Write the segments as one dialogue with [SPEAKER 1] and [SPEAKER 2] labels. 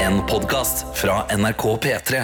[SPEAKER 1] En podcast fra NRK P3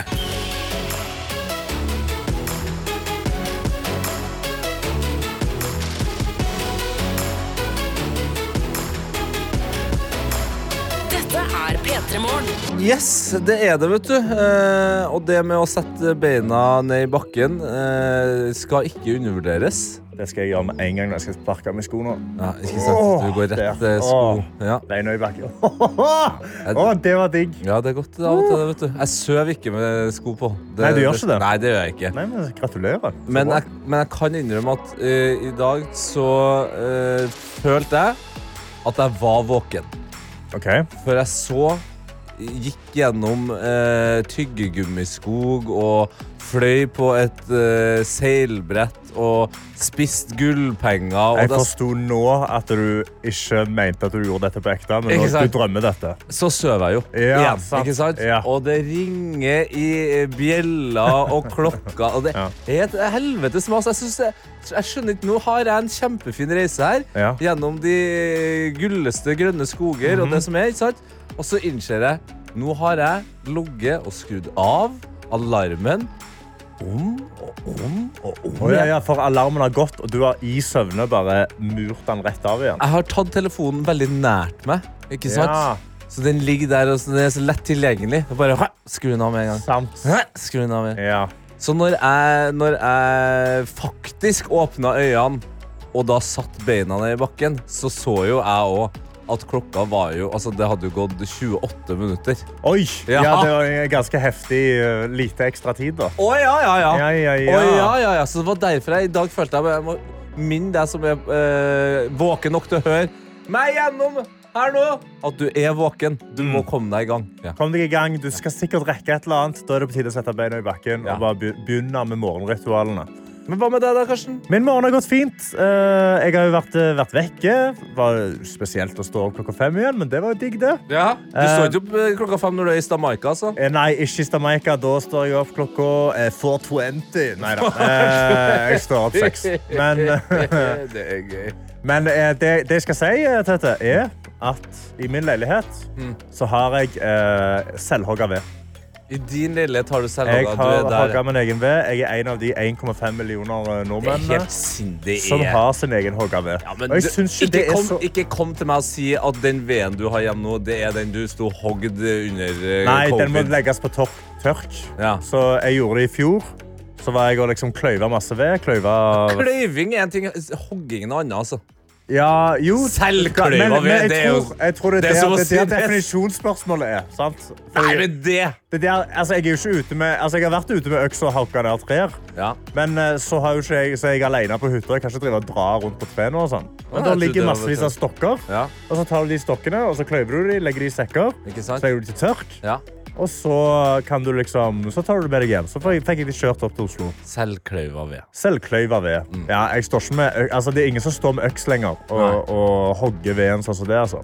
[SPEAKER 2] Dette er P3 Morgen.
[SPEAKER 3] Yes, det er det, vet du. Eh, og det med å sette beina ned i bakken eh, skal ikke undervurderes.
[SPEAKER 4] Det skal jeg gjøre med en gang når jeg skal sparke med skoene.
[SPEAKER 3] Ja, ikke sant? Du går rett til sko. Ja.
[SPEAKER 4] Beina i bakken. Åh, det var digg.
[SPEAKER 3] ja, det er godt av og til, det, vet du. Jeg søv ikke med sko på. Det-
[SPEAKER 4] Nei, du gjør ikke det?
[SPEAKER 3] Nei, det gjør jeg ikke.
[SPEAKER 4] Nei, men Gratulerer. Så
[SPEAKER 3] Men
[SPEAKER 4] bra.
[SPEAKER 3] jeg, men jeg kan innrømme at eh, i dag så eh, følte jeg at jeg var våken.
[SPEAKER 4] OK.
[SPEAKER 3] Før jeg så gikk gjennom eh, tyggegummiskog og fløy på et eh, seilbrett og spist gullpenger. Og
[SPEAKER 4] Jeg
[SPEAKER 3] da,
[SPEAKER 4] forsto nå at du ikke mente at du gjorde dette på ekte, men
[SPEAKER 3] Ikke
[SPEAKER 4] nå,
[SPEAKER 3] sant?
[SPEAKER 4] du drømmer dette.
[SPEAKER 3] så søver jeg jo.
[SPEAKER 4] Ja,
[SPEAKER 3] igjen,
[SPEAKER 4] sant.
[SPEAKER 3] ikke sant?
[SPEAKER 4] Ja.
[SPEAKER 3] Og det ringer i eh, bjella og klokka. Og det
[SPEAKER 4] Ja.
[SPEAKER 3] er et helvetes mas. Jeg, synes det- jeg skjønner ikke, Nå har jeg en kjempefin reise her
[SPEAKER 4] Ja.
[SPEAKER 3] gjennom de gulleste grønne skoger og
[SPEAKER 4] Mhm.
[SPEAKER 3] det som er. ikke sant? Og så innser jeg nå har jeg ligget og skrudd av alarmen om og om og om.
[SPEAKER 4] Å, ja,
[SPEAKER 3] igjen.
[SPEAKER 4] ja, for alarmen har gått, og du har i søvne bare murt den rett av igjen.
[SPEAKER 3] Jeg har tatt telefonen veldig nært meg. ikke sant?
[SPEAKER 4] Ja.
[SPEAKER 3] Så den ligger der og så den er så lett tilgjengelig. Det er Bare hæ, skru den av med en gang.
[SPEAKER 4] Sant.
[SPEAKER 3] Hæ, Skru den av med.
[SPEAKER 4] Ja.
[SPEAKER 3] Så når jeg, når jeg faktisk åpna øynene og da satt beina ned i bakken, så så jo jeg òg at klokka var jo Altså, det hadde jo gått 28 minutter.
[SPEAKER 4] Oi!
[SPEAKER 3] Ja.
[SPEAKER 4] Ja. det var en ganske heftig eh, lite ekstra tid, da.
[SPEAKER 3] Å ja, ja, ja.
[SPEAKER 4] Ja, ja, ja.
[SPEAKER 3] Å, ja, ja, ja. Så det var derfor jeg i dag følte jeg bare jeg må minne deg som er eh, våken nok til å høre meg gjennom her nå, at du er våken. Du må komme deg i gang. Ja.
[SPEAKER 4] Kom deg i gang. Du skal sikkert rekke et eller annet. Da er det på tide å sette beina i bakken
[SPEAKER 3] Ja.
[SPEAKER 4] og bare be- begynne med morgenritualene.
[SPEAKER 3] Men hva med deg da, Karsten?
[SPEAKER 4] Min morgen har gått fint. Eh, Jeg har jo vært, vært vekke. Var spesielt å stå opp klokka fem igjen, men det var jo digg, det.
[SPEAKER 3] Ja, Du
[SPEAKER 4] Eh,
[SPEAKER 3] står ikke opp eh, klokka fem når du er i Stamaica, altså.
[SPEAKER 4] Eh, Nei, ikke i Jamaica. Da står jeg opp klokka eh, 4.20. Nei da. Eh, Jeg står opp seks. Men,
[SPEAKER 3] det er gøy.
[SPEAKER 4] men eh, det, det jeg skal si, eh, Tete, er at i min leilighet så har jeg eh, selvhogga ved.
[SPEAKER 3] I din leilighet har du
[SPEAKER 4] Jeg
[SPEAKER 3] selvhogga.
[SPEAKER 4] har
[SPEAKER 3] Du er
[SPEAKER 4] hogga
[SPEAKER 3] der.
[SPEAKER 4] min egen ved. Jeg er en av de 1,5 millioner eh,
[SPEAKER 3] Det er
[SPEAKER 4] nordmennene
[SPEAKER 3] helt sindig.
[SPEAKER 4] som har sin egen hogga ved.
[SPEAKER 3] ja, men
[SPEAKER 4] Og jeg
[SPEAKER 3] du,
[SPEAKER 4] syns ikke
[SPEAKER 3] ikke,
[SPEAKER 4] det er
[SPEAKER 3] kom,
[SPEAKER 4] så
[SPEAKER 3] ikke kom til meg og si at den veden du har hjemme nå, det er den du sto hogd under eh,
[SPEAKER 4] Nei, den må
[SPEAKER 3] covid.
[SPEAKER 4] legges på topp tørk.
[SPEAKER 3] Ja.
[SPEAKER 4] Så jeg gjorde det i fjor. Så var jeg og liksom kløyva masse ved. Kløyva
[SPEAKER 3] Kløyving er en ting, hogging er noe annet, altså.
[SPEAKER 4] Ja, jo.
[SPEAKER 3] Selvkløyva
[SPEAKER 4] Men- men
[SPEAKER 3] ved,
[SPEAKER 4] jeg
[SPEAKER 3] det er jo-
[SPEAKER 4] tror- Jeg tror det er
[SPEAKER 3] det er som å
[SPEAKER 4] der, det
[SPEAKER 3] si
[SPEAKER 4] er der
[SPEAKER 3] det.
[SPEAKER 4] definisjonsspørsmålet er. Sant? Fordi
[SPEAKER 3] Nei, men det
[SPEAKER 4] det der, altså, jeg er jo ikke ute med Altså, jeg har vært ute med øks og hakka ned trær.
[SPEAKER 3] Ja.
[SPEAKER 4] Men eh, så, har jo ikke jeg, så er jeg alene på hytta. Jeg kan ikke drive og dra rundt på trærne. og sånn.
[SPEAKER 3] Å,
[SPEAKER 4] Men da
[SPEAKER 3] jeg trodde det
[SPEAKER 4] ligger
[SPEAKER 3] var
[SPEAKER 4] massevis
[SPEAKER 3] tørt.
[SPEAKER 4] av stokker.
[SPEAKER 3] Ja.
[SPEAKER 4] Og så tar du de stokkene, og så kløyver du de, legger de i sekker.
[SPEAKER 3] Ikke sant?
[SPEAKER 4] Så er de til tørk.
[SPEAKER 3] ja.
[SPEAKER 4] Og så kan du liksom Så tar du det med deg hjem. Så fikk jeg de kjørt opp til Oslo.
[SPEAKER 3] Selvkløyva ved.
[SPEAKER 4] Selvkløyva ved.
[SPEAKER 3] Mm.
[SPEAKER 4] Ja, jeg står ikke med, ø- altså, det er ingen som står med øks lenger og, og hogger veden sånn som det. Altså.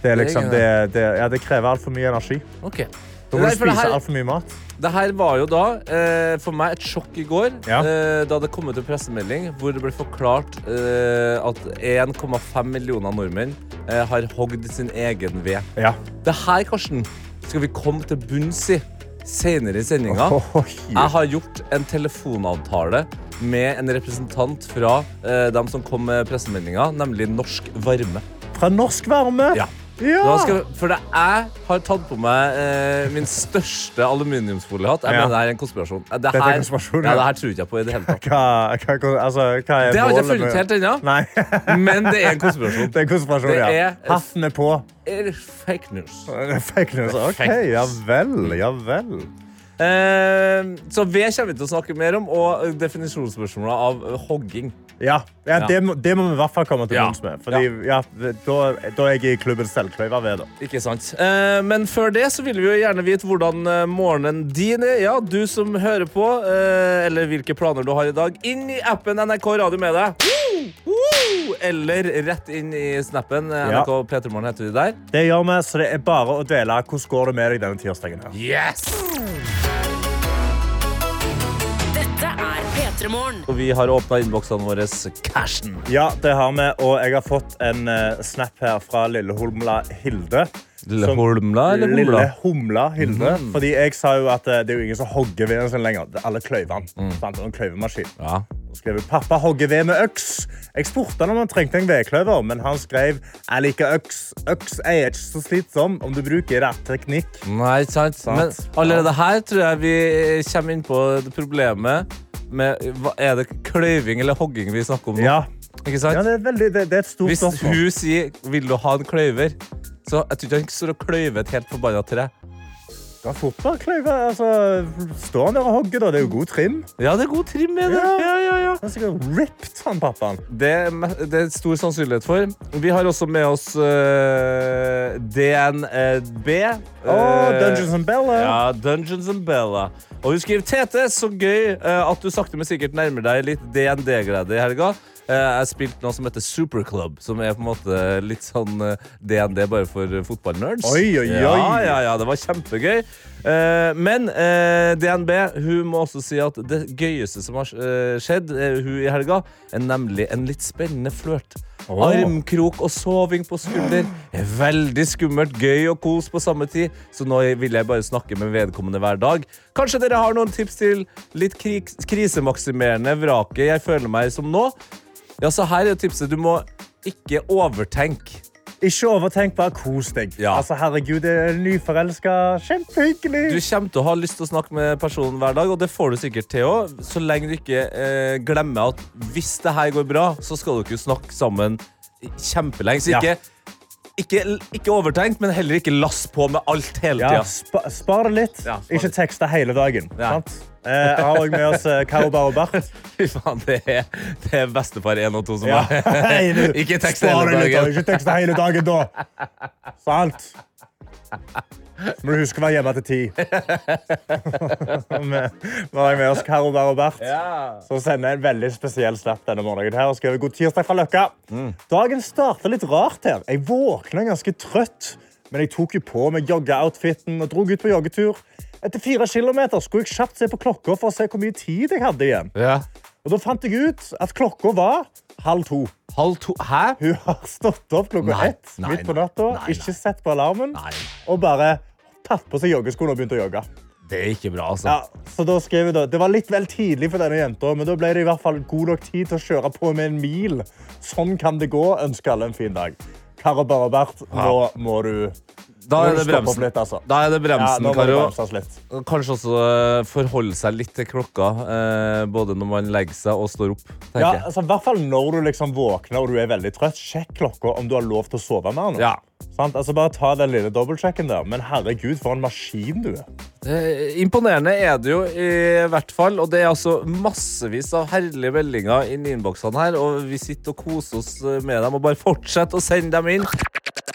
[SPEAKER 4] Det, er liksom, det, det, ja, det krever altfor mye energi.
[SPEAKER 3] Ok.
[SPEAKER 4] Da må
[SPEAKER 3] Nei,
[SPEAKER 4] du
[SPEAKER 3] for det
[SPEAKER 4] spise
[SPEAKER 3] her-
[SPEAKER 4] altfor mye mat.
[SPEAKER 3] Det her var jo da eh, for meg et sjokk i går,
[SPEAKER 4] Ja.
[SPEAKER 3] eh, da det kom ut en pressemelding hvor det ble forklart eh, at 1,5 millioner nordmenn eh, har hogd sin egen ved.
[SPEAKER 4] Ja.
[SPEAKER 3] Det her, Karsten, skal vi komme til bunns i senere i sendinga. Jeg
[SPEAKER 4] Oi.
[SPEAKER 3] har gjort en telefonavtale med en representant fra eh, dem som kom med pressemeldinga, nemlig Norsk Varme.
[SPEAKER 4] Fra norsk varme.
[SPEAKER 3] Ja.
[SPEAKER 4] Ja.
[SPEAKER 3] Da skal, for det jeg har tatt på meg eh, min største aluminiumsfoliehatt. Jeg
[SPEAKER 4] Ja.
[SPEAKER 3] mener det er en konspirasjon. Eh, Det
[SPEAKER 4] er
[SPEAKER 3] her,
[SPEAKER 4] konspirasjon,
[SPEAKER 3] ja.
[SPEAKER 4] ja.
[SPEAKER 3] det her tror jeg ikke på i det hele tatt.
[SPEAKER 4] Hva, hva, altså, hva er
[SPEAKER 3] Det har jeg ikke
[SPEAKER 4] målet med-
[SPEAKER 3] funnet helt ennå,
[SPEAKER 4] Nei.
[SPEAKER 3] men det er en konspirasjon.
[SPEAKER 4] Det er konspirasjon,
[SPEAKER 3] Det
[SPEAKER 4] ja.
[SPEAKER 3] er-
[SPEAKER 4] Hatten er på.
[SPEAKER 3] Det er fake news.
[SPEAKER 4] Fake news. OK, ja vel. Ja vel.
[SPEAKER 3] Eh, så ved kommer vi til å snakke mer om, og definisjonsspørsmålet av eh, hogging.
[SPEAKER 4] Ja, ja,
[SPEAKER 3] Ja.
[SPEAKER 4] Det, må, det må vi i hvert fall komme til
[SPEAKER 3] Ja.
[SPEAKER 4] bunns med. Fordi, ja. da, da er jeg i klubben selvkløyva ved. Da.
[SPEAKER 3] Ikke sant. Eh, men før det så vil vi jo gjerne vite hvordan eh, morgenen din er. Ja, du som hører på, eh, eller hvilke planer du har i dag. Inn i appen NRK Radio med deg. Woo! Eller rett inn i snappen. eh,
[SPEAKER 4] Ja.
[SPEAKER 3] NRK P3morgen heter vi der.
[SPEAKER 4] Det gjør vi, så det er bare å dele hvordan går det med deg denne tirsdagen. her.
[SPEAKER 3] Yes!
[SPEAKER 2] Dette er P3 Morgen.
[SPEAKER 3] Og vi har åpna innboksene våre. Cashen.
[SPEAKER 4] Ja, det har vi, og jeg har fått en eh, snap her fra Lilleholmla Hilde.
[SPEAKER 3] Lille
[SPEAKER 4] Som-
[SPEAKER 3] Holmla eller Humla? Mhm.
[SPEAKER 4] Lille Humla Hilde. Fordi jeg sa jo at eh, det er jo ingen som hogger veden sin lenger. Det- Alle kløyver den.
[SPEAKER 3] Mm.
[SPEAKER 4] Sant? Det er en kløyvemaskin.
[SPEAKER 3] Ja.
[SPEAKER 4] Så skrev hun, pappa hogger ved med øks. Jeg spurte han om han trengte en vedkløver, men han skrev jeg liker øks. Øks er ikke så slitsom om du bruker rett teknikk.
[SPEAKER 3] Nei, ikke sant?
[SPEAKER 4] Sant.
[SPEAKER 3] Men allerede her tror jeg vi kommer inn på det problemet med hva, Er det kløyving eller hogging vi snakker om nå?
[SPEAKER 4] Ja,
[SPEAKER 3] Ikke sant?
[SPEAKER 4] ja det, er veldig, det, det er et stort
[SPEAKER 3] Hvis
[SPEAKER 4] spørsmål.
[SPEAKER 3] hun sier 'vil du ha en kløyver', så jeg tror ikke han står og kløyver et helt forbanna tre.
[SPEAKER 4] Ja, Fotballkløyver, altså, står han der og hogger da? Det er jo god trim.
[SPEAKER 3] Ja, det er god trim i det.
[SPEAKER 4] Ja.
[SPEAKER 3] Ja, ja, ja.
[SPEAKER 4] Han er sikkert ripped, han pappaen.
[SPEAKER 3] Det, er me- det er stor sannsynlighet for. Vi har også med oss eh, DNB.
[SPEAKER 4] Å, Dungeons and eh. Bella.
[SPEAKER 3] Eh, Ja, Dungeons and Bella. Og hun skriver Tete, så gøy eh, at du sakte, men sikkert nærmer deg litt DND-glede i helga. Eh, jeg spilte noe som heter Superclub, som er på en måte litt sånn eh, DND bare for eh, fotballnerds.
[SPEAKER 4] Oi, oi, oi.
[SPEAKER 3] Ja, ja, ja, det var kjempegøy. Eh, men eh, DNB hun må også si at det gøyeste som har eh, skjedd eh, hun i helga, er nemlig en litt spennende flørt.
[SPEAKER 4] Åh.
[SPEAKER 3] Armkrok og soving på skulder er veldig skummelt, gøy og kos på samme tid, så nå vil jeg bare snakke med vedkommende hver dag. Kanskje dere har noen tips til litt kri krisemaksimerende vraket jeg føler meg som nå? Ja, så her er tipset. Du må ikke overtenke.
[SPEAKER 4] Ikke overtenk, bare kos deg.
[SPEAKER 3] Ja.
[SPEAKER 4] Altså, herregud, det er nyforelska.
[SPEAKER 3] Du
[SPEAKER 4] Kjempehyggelig.
[SPEAKER 3] kommer til å ha lyst til å snakke med personen hver dag, og det får du sikkert til òg, så lenge du ikke eh, glemmer at hvis det her går bra, så skal dere jo snakke sammen kjempelenge. Så
[SPEAKER 4] Ja.
[SPEAKER 3] ikke, ikke, ikke overtenkt, men heller ikke lass på med alt hele
[SPEAKER 4] Ja,
[SPEAKER 3] tida.
[SPEAKER 4] spa, spar det litt.
[SPEAKER 3] Ja, spar
[SPEAKER 4] Ikke
[SPEAKER 3] litt.
[SPEAKER 4] tekste hele dagen.
[SPEAKER 3] Ja.
[SPEAKER 4] Sant? Eh, jeg har også med oss eh, Kauba og Bart.
[SPEAKER 3] Fy faen, det er, det er bestefar 1 og 2 som
[SPEAKER 4] Ja. Hei,
[SPEAKER 3] er
[SPEAKER 4] du.
[SPEAKER 3] Ikke tekst
[SPEAKER 4] Spar
[SPEAKER 3] hele
[SPEAKER 4] det litt,
[SPEAKER 3] dagen.
[SPEAKER 4] da. Ikke tekste hele dagen, da. Sant? Må du huske å være hjemme til ti. Vi vi har med oss Kauba og Bart.
[SPEAKER 3] Ja.
[SPEAKER 4] Så sender jeg en veldig spesiell snap denne morgenen her og skriver god tirsdag fra Løkka.
[SPEAKER 3] Mm.
[SPEAKER 4] Dagen starter litt rart her. Jeg våkna ganske trøtt, men jeg tok jo på meg joggeoutfiten og dro ut på joggetur. Etter fire kilometer skulle jeg kjapt se på klokka for å se hvor mye tid jeg hadde igjen.
[SPEAKER 3] Ja.
[SPEAKER 4] Og da fant jeg ut at klokka var halv to.
[SPEAKER 3] Halv to Hæ?
[SPEAKER 4] Hun har stått opp klokka
[SPEAKER 3] Nei,
[SPEAKER 4] ett
[SPEAKER 3] nei,
[SPEAKER 4] midt på
[SPEAKER 3] nei,
[SPEAKER 4] natta,
[SPEAKER 3] nei, nei.
[SPEAKER 4] ikke sett på alarmen,
[SPEAKER 3] Nei.
[SPEAKER 4] og bare tatt på seg joggeskoene og begynt å jogge.
[SPEAKER 3] Det er ikke bra, altså.
[SPEAKER 4] Ja, så da skrev jeg da, Det var litt vel tidlig for denne jenta, men da ble det i hvert fall god nok tid til å kjøre på med en mil. Sånn kan det gå. Ønsker alle en fin dag. Karo Barabert, nå må du
[SPEAKER 3] Da
[SPEAKER 4] Nå
[SPEAKER 3] er
[SPEAKER 4] må
[SPEAKER 3] det
[SPEAKER 4] du stoppe opp
[SPEAKER 3] bremsen.
[SPEAKER 4] litt, altså.
[SPEAKER 3] Da er det
[SPEAKER 4] ja,
[SPEAKER 3] bremsen,
[SPEAKER 4] nå må det
[SPEAKER 3] Karo.
[SPEAKER 4] bremses litt.
[SPEAKER 3] Kanskje også eh, forholde seg litt til klokka, eh, både når man legger seg og står opp. tenker
[SPEAKER 4] Ja,
[SPEAKER 3] jeg.
[SPEAKER 4] altså, I hvert fall når du liksom våkner og du er veldig trøtt. Sjekk klokka om du har lov til å sove mer. nå.
[SPEAKER 3] Ja.
[SPEAKER 4] Sant? Altså, bare ta den lille dobbeltsjekken der. Men herregud, for en maskin du er.
[SPEAKER 3] Eh, imponerende er det jo i hvert fall, og det er altså massevis av herlige meldinger inn i innboksene her, og vi sitter og koser oss eh, med dem, og bare fortsett å sende dem inn.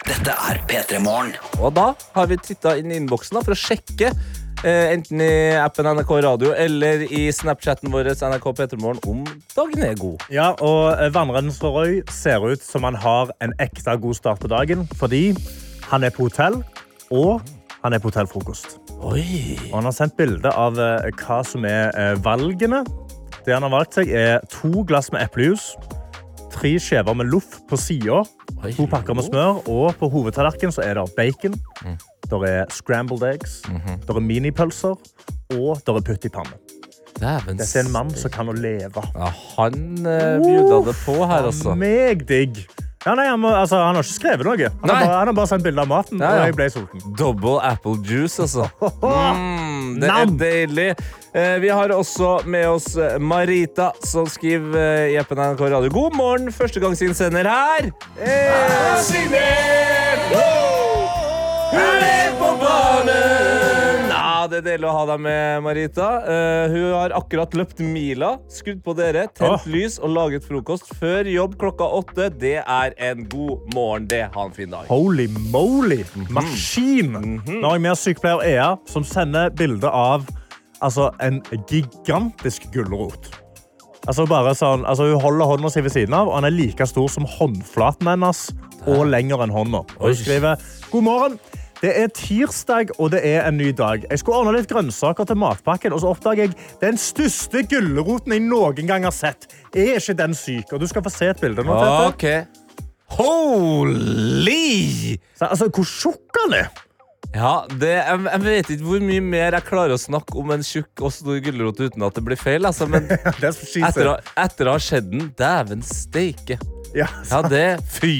[SPEAKER 5] Dette er P3 Morgen.
[SPEAKER 3] Og da har vi titta inn i innboksen da, for å sjekke. eh, Enten i appen NRK Radio eller i Snapchatten vår NRK Petermorgen om dagen er god.
[SPEAKER 4] Ja, og eh, vannrennen Røy ser ut som han har en ekte god start på dagen, fordi han er på hotell, og han er på hotellfrokost. Og han har sendt bilde av eh, hva som er eh, valgene. Det han har valgt seg er to glass med eplejus, tre skjever med loff på sida, to pakker med smør, og på hovedtallerkenen så er det bacon, der er scrambled eggs, der er minipølser, og der er putt i panne.
[SPEAKER 3] Dæven
[SPEAKER 4] Dette er en mann som kan å leve.
[SPEAKER 3] Ja, han eh, bjuda det på her, altså.
[SPEAKER 4] Faen Meg digg. Ja, nei, han, må, altså, han har ikke skrevet noe. Han, har
[SPEAKER 3] Nei.
[SPEAKER 4] bare, han har bare sendt bilde av maten.
[SPEAKER 3] Ja, ja.
[SPEAKER 4] Og jeg ble sulten.
[SPEAKER 3] Double apple juice, altså. Mm, det er
[SPEAKER 4] Nam!
[SPEAKER 3] deilig. Eh, vi har også med oss eh, Marita, som skriver eh, i appen NRK Radio God morgen, førstegangsinnsender her. Eh. Hun er på banen! Ja, det er deilig å ha deg med, Marita. Eh, hun har akkurat løpt mila, skudd på dere, tent
[SPEAKER 4] Åh.
[SPEAKER 3] lys og laget frokost før jobb klokka åtte. Det er en god morgen, det. Ha en fin dag.
[SPEAKER 4] Holy moly!
[SPEAKER 3] Mhm.
[SPEAKER 4] Maskin! Nå har jeg med sykepleier Ea, som sender bilde av altså, en gigantisk gulrot. Altså, bare sånn, altså, hun holder hånda si ved siden av, og han er like stor som håndflaten hennes. Og lenger enn hånda. Og hun skriver God morgen. Det er tirsdag, og det er en ny dag. Jeg skulle ordne litt grønnsaker til matpakken, og så oppdager jeg den største gulroten jeg noen gang har sett. Er ikke den syk? Og du skal få se et bilde nå, Tete.
[SPEAKER 3] Ok. Holy!
[SPEAKER 4] Så, altså, hvor tjukk han er!
[SPEAKER 3] Ja, det, jeg, jeg vet ikke hvor mye mer jeg klarer å snakke om en tjukk og stor gulrot uten at det blir feil, altså, men
[SPEAKER 4] Det er så
[SPEAKER 3] etter, å-
[SPEAKER 4] skisøt.
[SPEAKER 3] etter å ha sett den, dæven steike.
[SPEAKER 4] Ja,
[SPEAKER 3] Ja,
[SPEAKER 4] så-
[SPEAKER 3] det Fy!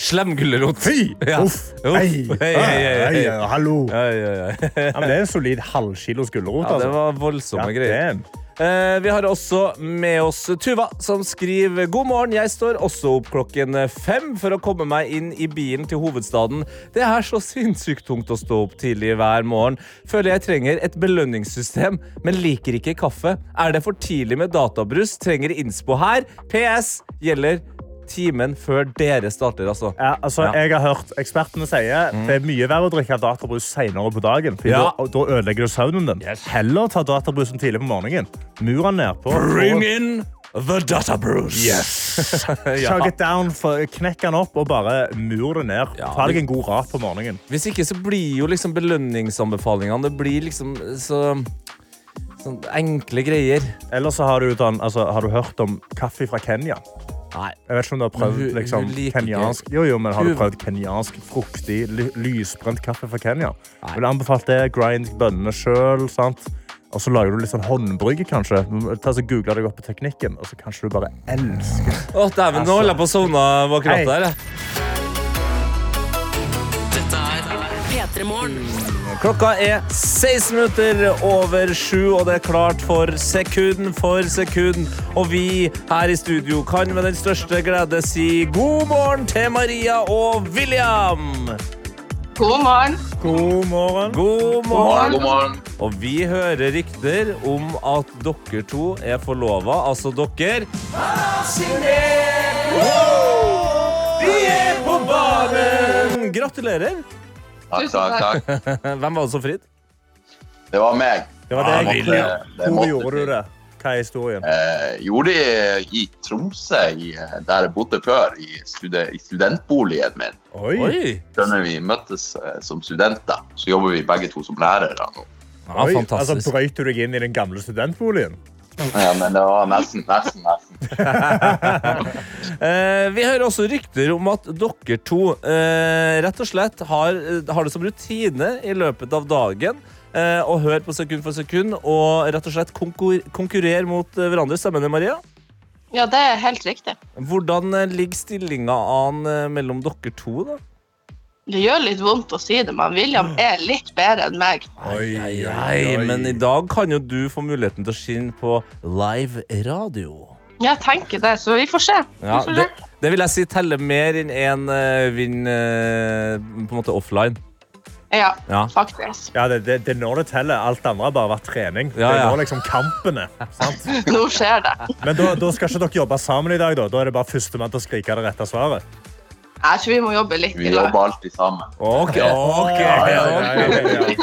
[SPEAKER 3] Slem gulrot.
[SPEAKER 4] Fy!
[SPEAKER 3] Ja.
[SPEAKER 4] Uff!
[SPEAKER 3] Uff.
[SPEAKER 4] Hei! Ah,
[SPEAKER 3] Hei, hei, hei, hei.
[SPEAKER 4] Hei, Hallo!
[SPEAKER 3] Ja, ja, ja.
[SPEAKER 4] Ja, men det er en solid halvkilos gulrot.
[SPEAKER 3] ja, det
[SPEAKER 4] altså.
[SPEAKER 3] var voldsomme
[SPEAKER 4] Ja,
[SPEAKER 3] greier.
[SPEAKER 4] damn.
[SPEAKER 3] Eh, vi har også med oss Tuva, som skriver God morgen, jeg står også opp klokken fem for å komme meg inn i bilen til hovedstaden. Det er så sinnssykt tungt å stå opp tidlig hver morgen. Føler jeg trenger et belønningssystem, men liker ikke kaffe. Er det for tidlig med databrus? Trenger innspo her. PS gjelder timen før dere starter, altså.
[SPEAKER 4] Ja, altså,
[SPEAKER 3] Ja. Mm.
[SPEAKER 4] Jeg har hørt ekspertene sier det er mye verre å drikke databrus senere på dagen. For
[SPEAKER 3] Ja.
[SPEAKER 4] da, da ødelegger du søvnen din. Heller ta databrusen tidlig på morgenen. Mur den nedpå.
[SPEAKER 3] Bring
[SPEAKER 4] Få-
[SPEAKER 3] in the data bruce.
[SPEAKER 4] Yes.
[SPEAKER 3] Ja.
[SPEAKER 4] Chug it down, for- knekk den opp og bare mur det ned.
[SPEAKER 3] Ja,
[SPEAKER 4] Ta deg
[SPEAKER 3] vi-
[SPEAKER 4] en god rat på morgenen.
[SPEAKER 3] Hvis ikke så blir jo liksom belønningsanbefalingene Det blir liksom så Sånn enkle greier.
[SPEAKER 4] Eller så har du, den, altså, har du hørt om kaffe fra Kenya.
[SPEAKER 3] Nei.
[SPEAKER 4] Jeg vet ikke om du har
[SPEAKER 3] Men
[SPEAKER 4] prøvd
[SPEAKER 3] hun-
[SPEAKER 4] liksom,
[SPEAKER 3] hun liker
[SPEAKER 4] kenyansk
[SPEAKER 3] ikke-
[SPEAKER 4] Jo, jo, men har du
[SPEAKER 3] hun-
[SPEAKER 4] prøvd kenyansk fruktig, ly- lysbrent kaffe fra Kenya?
[SPEAKER 3] Nei.
[SPEAKER 4] Vil du anbefalt det? Grind bønnene sjøl, sant? Og så lager du litt sånn håndbrygge, kanskje. Ta så Google deg opp på teknikken, og så kanskje du bare elsker
[SPEAKER 3] Å, dæven, nå holder jeg på å sovne bak
[SPEAKER 4] Hei.
[SPEAKER 3] rattet her. jeg.
[SPEAKER 2] P3morgen.
[SPEAKER 3] Klokka er 16 minutter over sju, og det er klart for sekund for sekund. Og vi her i studio kan med den største glede si god morgen til Maria og William.
[SPEAKER 6] God morgen.
[SPEAKER 4] God morgen.
[SPEAKER 3] God morgen.
[SPEAKER 7] God morgen.
[SPEAKER 3] Og vi hører rykter om at dere to er forlova. Altså dere De er på banen! Mm, Gratulerer.
[SPEAKER 7] Takk, takk, takk.
[SPEAKER 3] Hvem var det som fridd?
[SPEAKER 7] Det var meg.
[SPEAKER 4] Det var det jeg
[SPEAKER 7] Ja, det måtte- det
[SPEAKER 4] Hvor
[SPEAKER 7] måtte
[SPEAKER 4] gjorde
[SPEAKER 7] til.
[SPEAKER 4] du det? Hva er historien?
[SPEAKER 7] Eh, gjorde det i Tromsø, i, eh, der jeg bodde før, i, stude, i studentboligen min.
[SPEAKER 4] Oi.
[SPEAKER 3] Oi!
[SPEAKER 7] Skjønner vi møttes eh, som studenter, så jobber vi begge to som lærere nå.
[SPEAKER 3] Ja,
[SPEAKER 4] Oi. Altså,
[SPEAKER 3] fantastisk.
[SPEAKER 4] brøyt du deg inn i den gamle studentboligen?
[SPEAKER 7] Ja, men det var nesten, nesten, nesten.
[SPEAKER 3] Eh, vi hører også rykter om at dere to eh, rett og slett har, eh, har det som rutine i løpet av dagen eh, å høre på sekund for sekund og rett og slett konkur konkurrere mot eh, hverandre. Stemmer det, Maria?
[SPEAKER 6] Ja, det er helt riktig.
[SPEAKER 3] Hvordan eh, ligger stillinga an eh, mellom dere to, da?
[SPEAKER 6] Det gjør litt vondt å si det, men William er litt bedre enn meg.
[SPEAKER 4] Oi, oi,
[SPEAKER 3] Nei, men i dag kan jo du få muligheten til å skinne på live radio.
[SPEAKER 6] Jeg tenker det, så vi får se. Vi
[SPEAKER 3] Ja,
[SPEAKER 6] får
[SPEAKER 3] det,
[SPEAKER 6] se.
[SPEAKER 3] det vil jeg si teller mer enn én eh, vinn eh, på en måte offline.
[SPEAKER 6] Ja,
[SPEAKER 3] Ja.
[SPEAKER 6] faktisk.
[SPEAKER 4] Ja, det, det, det er når det teller. Alt det andre har bare vært trening.
[SPEAKER 3] Ja,
[SPEAKER 4] Det
[SPEAKER 3] ja.
[SPEAKER 4] er nå liksom kampen er. Sant?
[SPEAKER 6] Nå skjer det.
[SPEAKER 4] Men da, da skal ikke dere jobbe sammen i dag, da? Da er det bare førstemann til å skrike det rette svaret?
[SPEAKER 6] Jeg tror vi må jobbe litt i
[SPEAKER 7] Vi
[SPEAKER 6] lag.
[SPEAKER 7] jobber alltid sammen.
[SPEAKER 3] Ok, ok.
[SPEAKER 4] Ja, ja,
[SPEAKER 3] Ja,
[SPEAKER 4] ja, ja,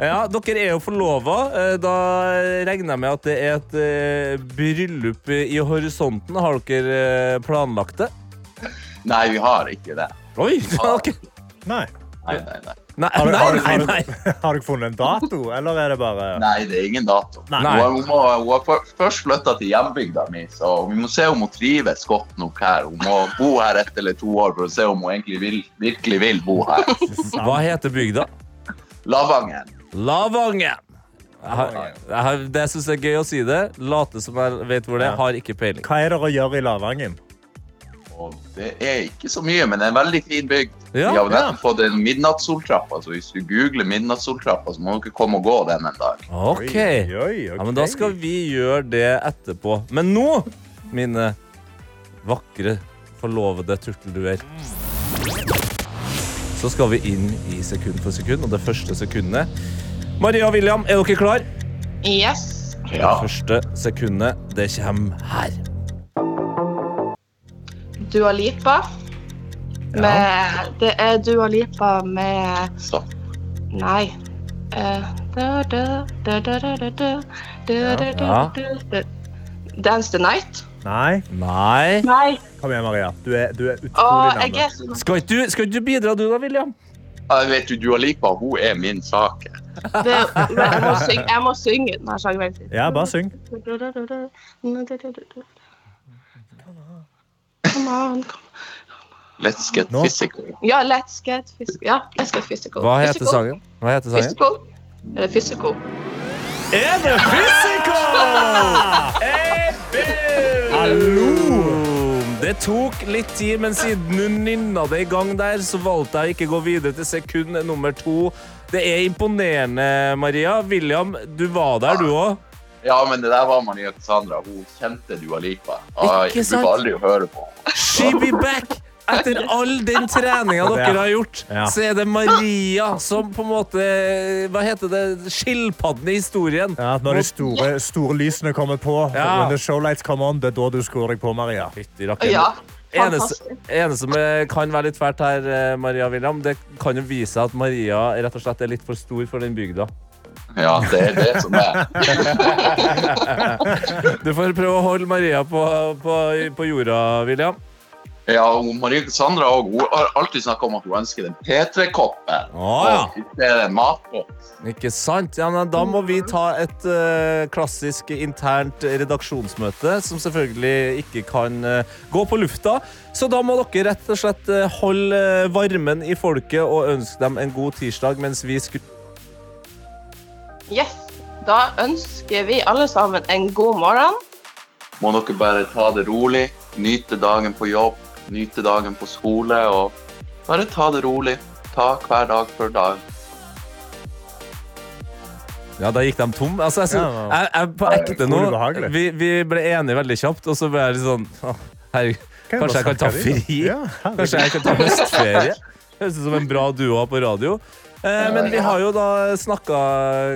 [SPEAKER 4] ja.
[SPEAKER 3] Dere er jo forlova. eh, Da regner jeg med at det er et eh, bryllup i horisonten. Har dere eh, planlagt det?
[SPEAKER 7] Nei, vi har ikke det.
[SPEAKER 3] Oi! ok.
[SPEAKER 4] Nei.
[SPEAKER 7] Nei, nei, nei.
[SPEAKER 3] Nei,
[SPEAKER 4] Har,
[SPEAKER 3] nei,
[SPEAKER 4] har,
[SPEAKER 3] nei,
[SPEAKER 4] har,
[SPEAKER 3] nei.
[SPEAKER 4] har dere funnet en dato, eller er det bare
[SPEAKER 7] nei det er ingen dato.
[SPEAKER 4] Nei.
[SPEAKER 7] Hun, har- hun, må, hun har for- først flytta til hjembygda mi, så vi må se om hun trives godt nok her. Hun må bo her ett eller to år for å se om hun egentlig vil, virkelig vil bo her.
[SPEAKER 3] Hva heter bygda?
[SPEAKER 7] Lavangen.
[SPEAKER 3] Lavangen. Jeg har, jeg har, det syns jeg er gøy å si det. Late som jeg vet hvor det er. Har ikke peiling.
[SPEAKER 4] Hva er det å gjøre i Lavangen?
[SPEAKER 7] Og det er ikke så mye, men det er en veldig fin bygd.
[SPEAKER 3] Ja,
[SPEAKER 7] Vi har nettopp fått en midnattssoltrappa, så hvis du googler midnattssoltrappa, så må dere komme og gå den en dag.
[SPEAKER 3] Ok.
[SPEAKER 4] Oi, oi,
[SPEAKER 3] Ja,
[SPEAKER 4] ok.
[SPEAKER 3] men da skal vi gjøre det etterpå. Men nå, mine vakre, forlovede turtelduer Så skal vi inn i sekund for sekund, og det første sekundet Maria og William, er dere klar?
[SPEAKER 6] Yes.
[SPEAKER 7] Ja.
[SPEAKER 3] Det første sekundet, det kommer her.
[SPEAKER 6] Dua Lipa. Med, det er Dua Lipa med
[SPEAKER 7] Så.
[SPEAKER 6] Nei. Eh, da, da, da, da, da, da, da, da, da, da, da, da. Dance the night.
[SPEAKER 4] Nei.
[SPEAKER 3] Nei.
[SPEAKER 6] Nei.
[SPEAKER 4] Kom igjen, Maria. Du er, du er
[SPEAKER 6] Og
[SPEAKER 4] utrolig
[SPEAKER 6] jeg
[SPEAKER 4] gammel.
[SPEAKER 6] er så
[SPEAKER 3] Skal ikke du, skal ikke du bidra, du da, William?
[SPEAKER 7] Ja, Vet du, Dua Lipa, hun er min sak.
[SPEAKER 6] Det, men jeg, må synge, jeg må synge denne sangen. Vent litt.
[SPEAKER 4] Ja, bare syng.
[SPEAKER 6] Come on, come on, come on.
[SPEAKER 7] Let's get
[SPEAKER 4] Nå?
[SPEAKER 7] physical.
[SPEAKER 6] Ja, let's get physical. Ja, let's get physical.
[SPEAKER 3] Hva heter
[SPEAKER 6] physical?
[SPEAKER 3] sangen? Hva heter sangen?
[SPEAKER 6] Physical? Er det physical?
[SPEAKER 4] Er det physical? Hallo!
[SPEAKER 3] Det tok litt tid, men siden hun nynna det i gang der, så valgte jeg å ikke gå videre til sekund nummer to. Det er imponerende, Maria. William, du var der, du òg.
[SPEAKER 7] Ja, men det der var Maria Cassandra. Hun kjente Dua Lipa. Ai,
[SPEAKER 3] Ikke
[SPEAKER 7] du
[SPEAKER 3] sant?
[SPEAKER 7] får aldri høre på.
[SPEAKER 3] She be back! Etter all den treninga dere har gjort,
[SPEAKER 4] Ja.
[SPEAKER 3] så er det Maria som på en måte Hva heter det? Skilpadden i historien.
[SPEAKER 4] Ja, når de store, store lysene kommer på,
[SPEAKER 3] Ja.
[SPEAKER 4] when the show lights come on, det er da du skrur deg på, Maria.
[SPEAKER 3] Fytti rakkeren.
[SPEAKER 6] Ja.
[SPEAKER 3] Eneste,
[SPEAKER 6] Fantastisk.
[SPEAKER 3] eneste som eh, kan være litt fælt her, eh, Maria og William, det kan jo vise seg at Maria rett og slett er litt for stor for den bygda.
[SPEAKER 7] Ja, det er det som er.
[SPEAKER 3] Du får prøve å holde Maria på, på, på jorda, William.
[SPEAKER 7] Ja, hun, Maria Cassandra og hun har alltid snakka om at hun ønsker den P3-koppen.
[SPEAKER 3] ja.
[SPEAKER 7] Og Det er en matkopp.
[SPEAKER 3] Ikke sant? Ja, men da må vi ta et eh, klassisk internt redaksjonsmøte, som selvfølgelig ikke kan eh, gå på lufta. Så da må dere rett og slett eh, holde eh, varmen i folket og ønske dem en god tirsdag mens vi skrur
[SPEAKER 6] Yes. Da ønsker vi alle sammen en god morgen.
[SPEAKER 7] Må dere bare ta det rolig. Nyte dagen på jobb, nyte dagen på skole og bare ta det rolig. Ta hver dag for dag.
[SPEAKER 3] Ja, da gikk de tom. Altså, jeg, synes,
[SPEAKER 4] Ja, ja.
[SPEAKER 3] jeg, jeg, på ekte nå
[SPEAKER 4] Utrolig behagelig.
[SPEAKER 3] vi, vi ble enige veldig kjapt, og så ble jeg litt sånn «Å, Herregud,
[SPEAKER 4] Kan jeg
[SPEAKER 3] kanskje jeg
[SPEAKER 4] bare
[SPEAKER 3] kan ta
[SPEAKER 4] snakke
[SPEAKER 3] fri?
[SPEAKER 4] av de, da? Ja, herregud.
[SPEAKER 3] kanskje jeg kan ta høstferie? Høres ut som en bra duo å ha på radio. Eh, men vi har jo da snakka,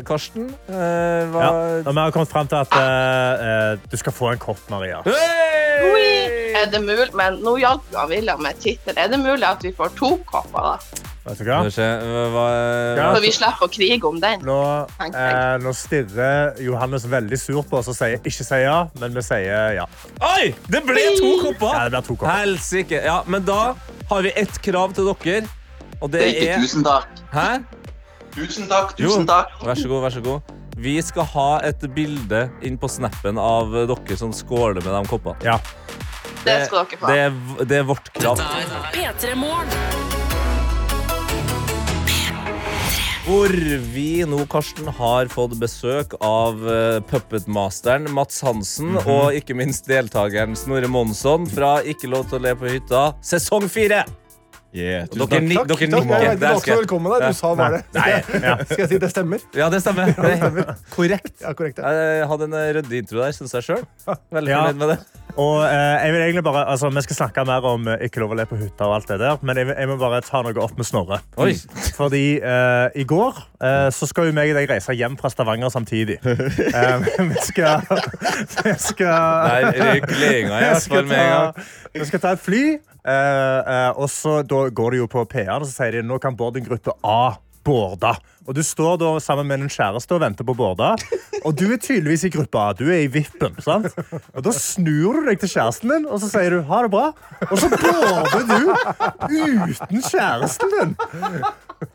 [SPEAKER 3] Karsten. Eh, hva
[SPEAKER 4] Ja. Og vi har kommet frem til at eh, eh, du skal få en kopp, Maria.
[SPEAKER 6] Er det mulig, men nå hjalp jo han William med tittelen. Er det mulig at vi får to kopper, da?
[SPEAKER 4] Vet du hva?
[SPEAKER 3] Skal vi se, hva,
[SPEAKER 4] Ja.
[SPEAKER 3] hva?
[SPEAKER 6] Så vi slipper å krige om den.
[SPEAKER 4] Nå, eh, nå stirrer Johannes veldig surt på oss og sier ikke si ja, men vi sier ja.
[SPEAKER 3] Oi! Det ble to kopper!
[SPEAKER 4] Ja, det blir to kopper.
[SPEAKER 3] Helsike. Ja, men da har vi ett krav til dere, og det
[SPEAKER 7] Det er ikke
[SPEAKER 3] er
[SPEAKER 7] tusen takk.
[SPEAKER 3] Hæ?
[SPEAKER 7] Tusen takk,
[SPEAKER 3] Jo.
[SPEAKER 7] tusen takk.
[SPEAKER 3] Vær så god, vær så god. Vi skal ha et bilde inn på snappen av dere som skåler med de koppene.
[SPEAKER 4] Ja.
[SPEAKER 6] Det skal dere få.
[SPEAKER 3] Det er, v- det er vårt krav.
[SPEAKER 2] P3 Morgen.
[SPEAKER 3] Hvor vi nå, Karsten, har fått besøk av eh, puppetmasteren Mats Hansen og ikke minst deltakeren Snorre Monsson fra Ikke lov til å le på hytta, sesong fire.
[SPEAKER 8] Yeah, tusen
[SPEAKER 3] Og Dere, ni,
[SPEAKER 8] takk.
[SPEAKER 3] dere
[SPEAKER 9] Takk, jeg
[SPEAKER 3] nikker.
[SPEAKER 9] er
[SPEAKER 3] Der
[SPEAKER 9] ikke
[SPEAKER 3] skal jeg-
[SPEAKER 9] velkommen der. Du sa bare det.
[SPEAKER 3] Nei,
[SPEAKER 9] Skal jeg si det stemmer?
[SPEAKER 3] ja, det stemmer. Det er korrekt.
[SPEAKER 9] Ja, korrekt. ja.
[SPEAKER 3] Jeg hadde en eh, ryddig intro der, syns jeg sjøl. Veldig
[SPEAKER 4] Ja.
[SPEAKER 3] fornøyd med det.
[SPEAKER 4] Og eh, jeg vil egentlig bare, altså, Vi skal snakke mer om eh, ikke lov å le på hytta, og alt det der, men jeg, vil- jeg må bare ta noe opp med Snorre.
[SPEAKER 3] Oi.
[SPEAKER 4] Fordi eh, i går eh, så skal jo meg og deg reise hjem fra Stavanger samtidig. Eh, vi skal, vi skal,
[SPEAKER 3] Der røyk ledelsen i
[SPEAKER 4] vi
[SPEAKER 3] hvert fall
[SPEAKER 4] skal,
[SPEAKER 3] med en gang.
[SPEAKER 4] ta, vi skal ta et fly, eh, eh, og så da går det jo på PR, og så sier de nå kan boardinggruppe A. Bårda. Og Du står da sammen med din kjæreste og venter på Bårda. Og du er tydeligvis i gruppa A. Du er i vippen. sant? Og Da snur du deg til kjæresten din og så sier du ha det bra. Og så bårder du uten kjæresten din.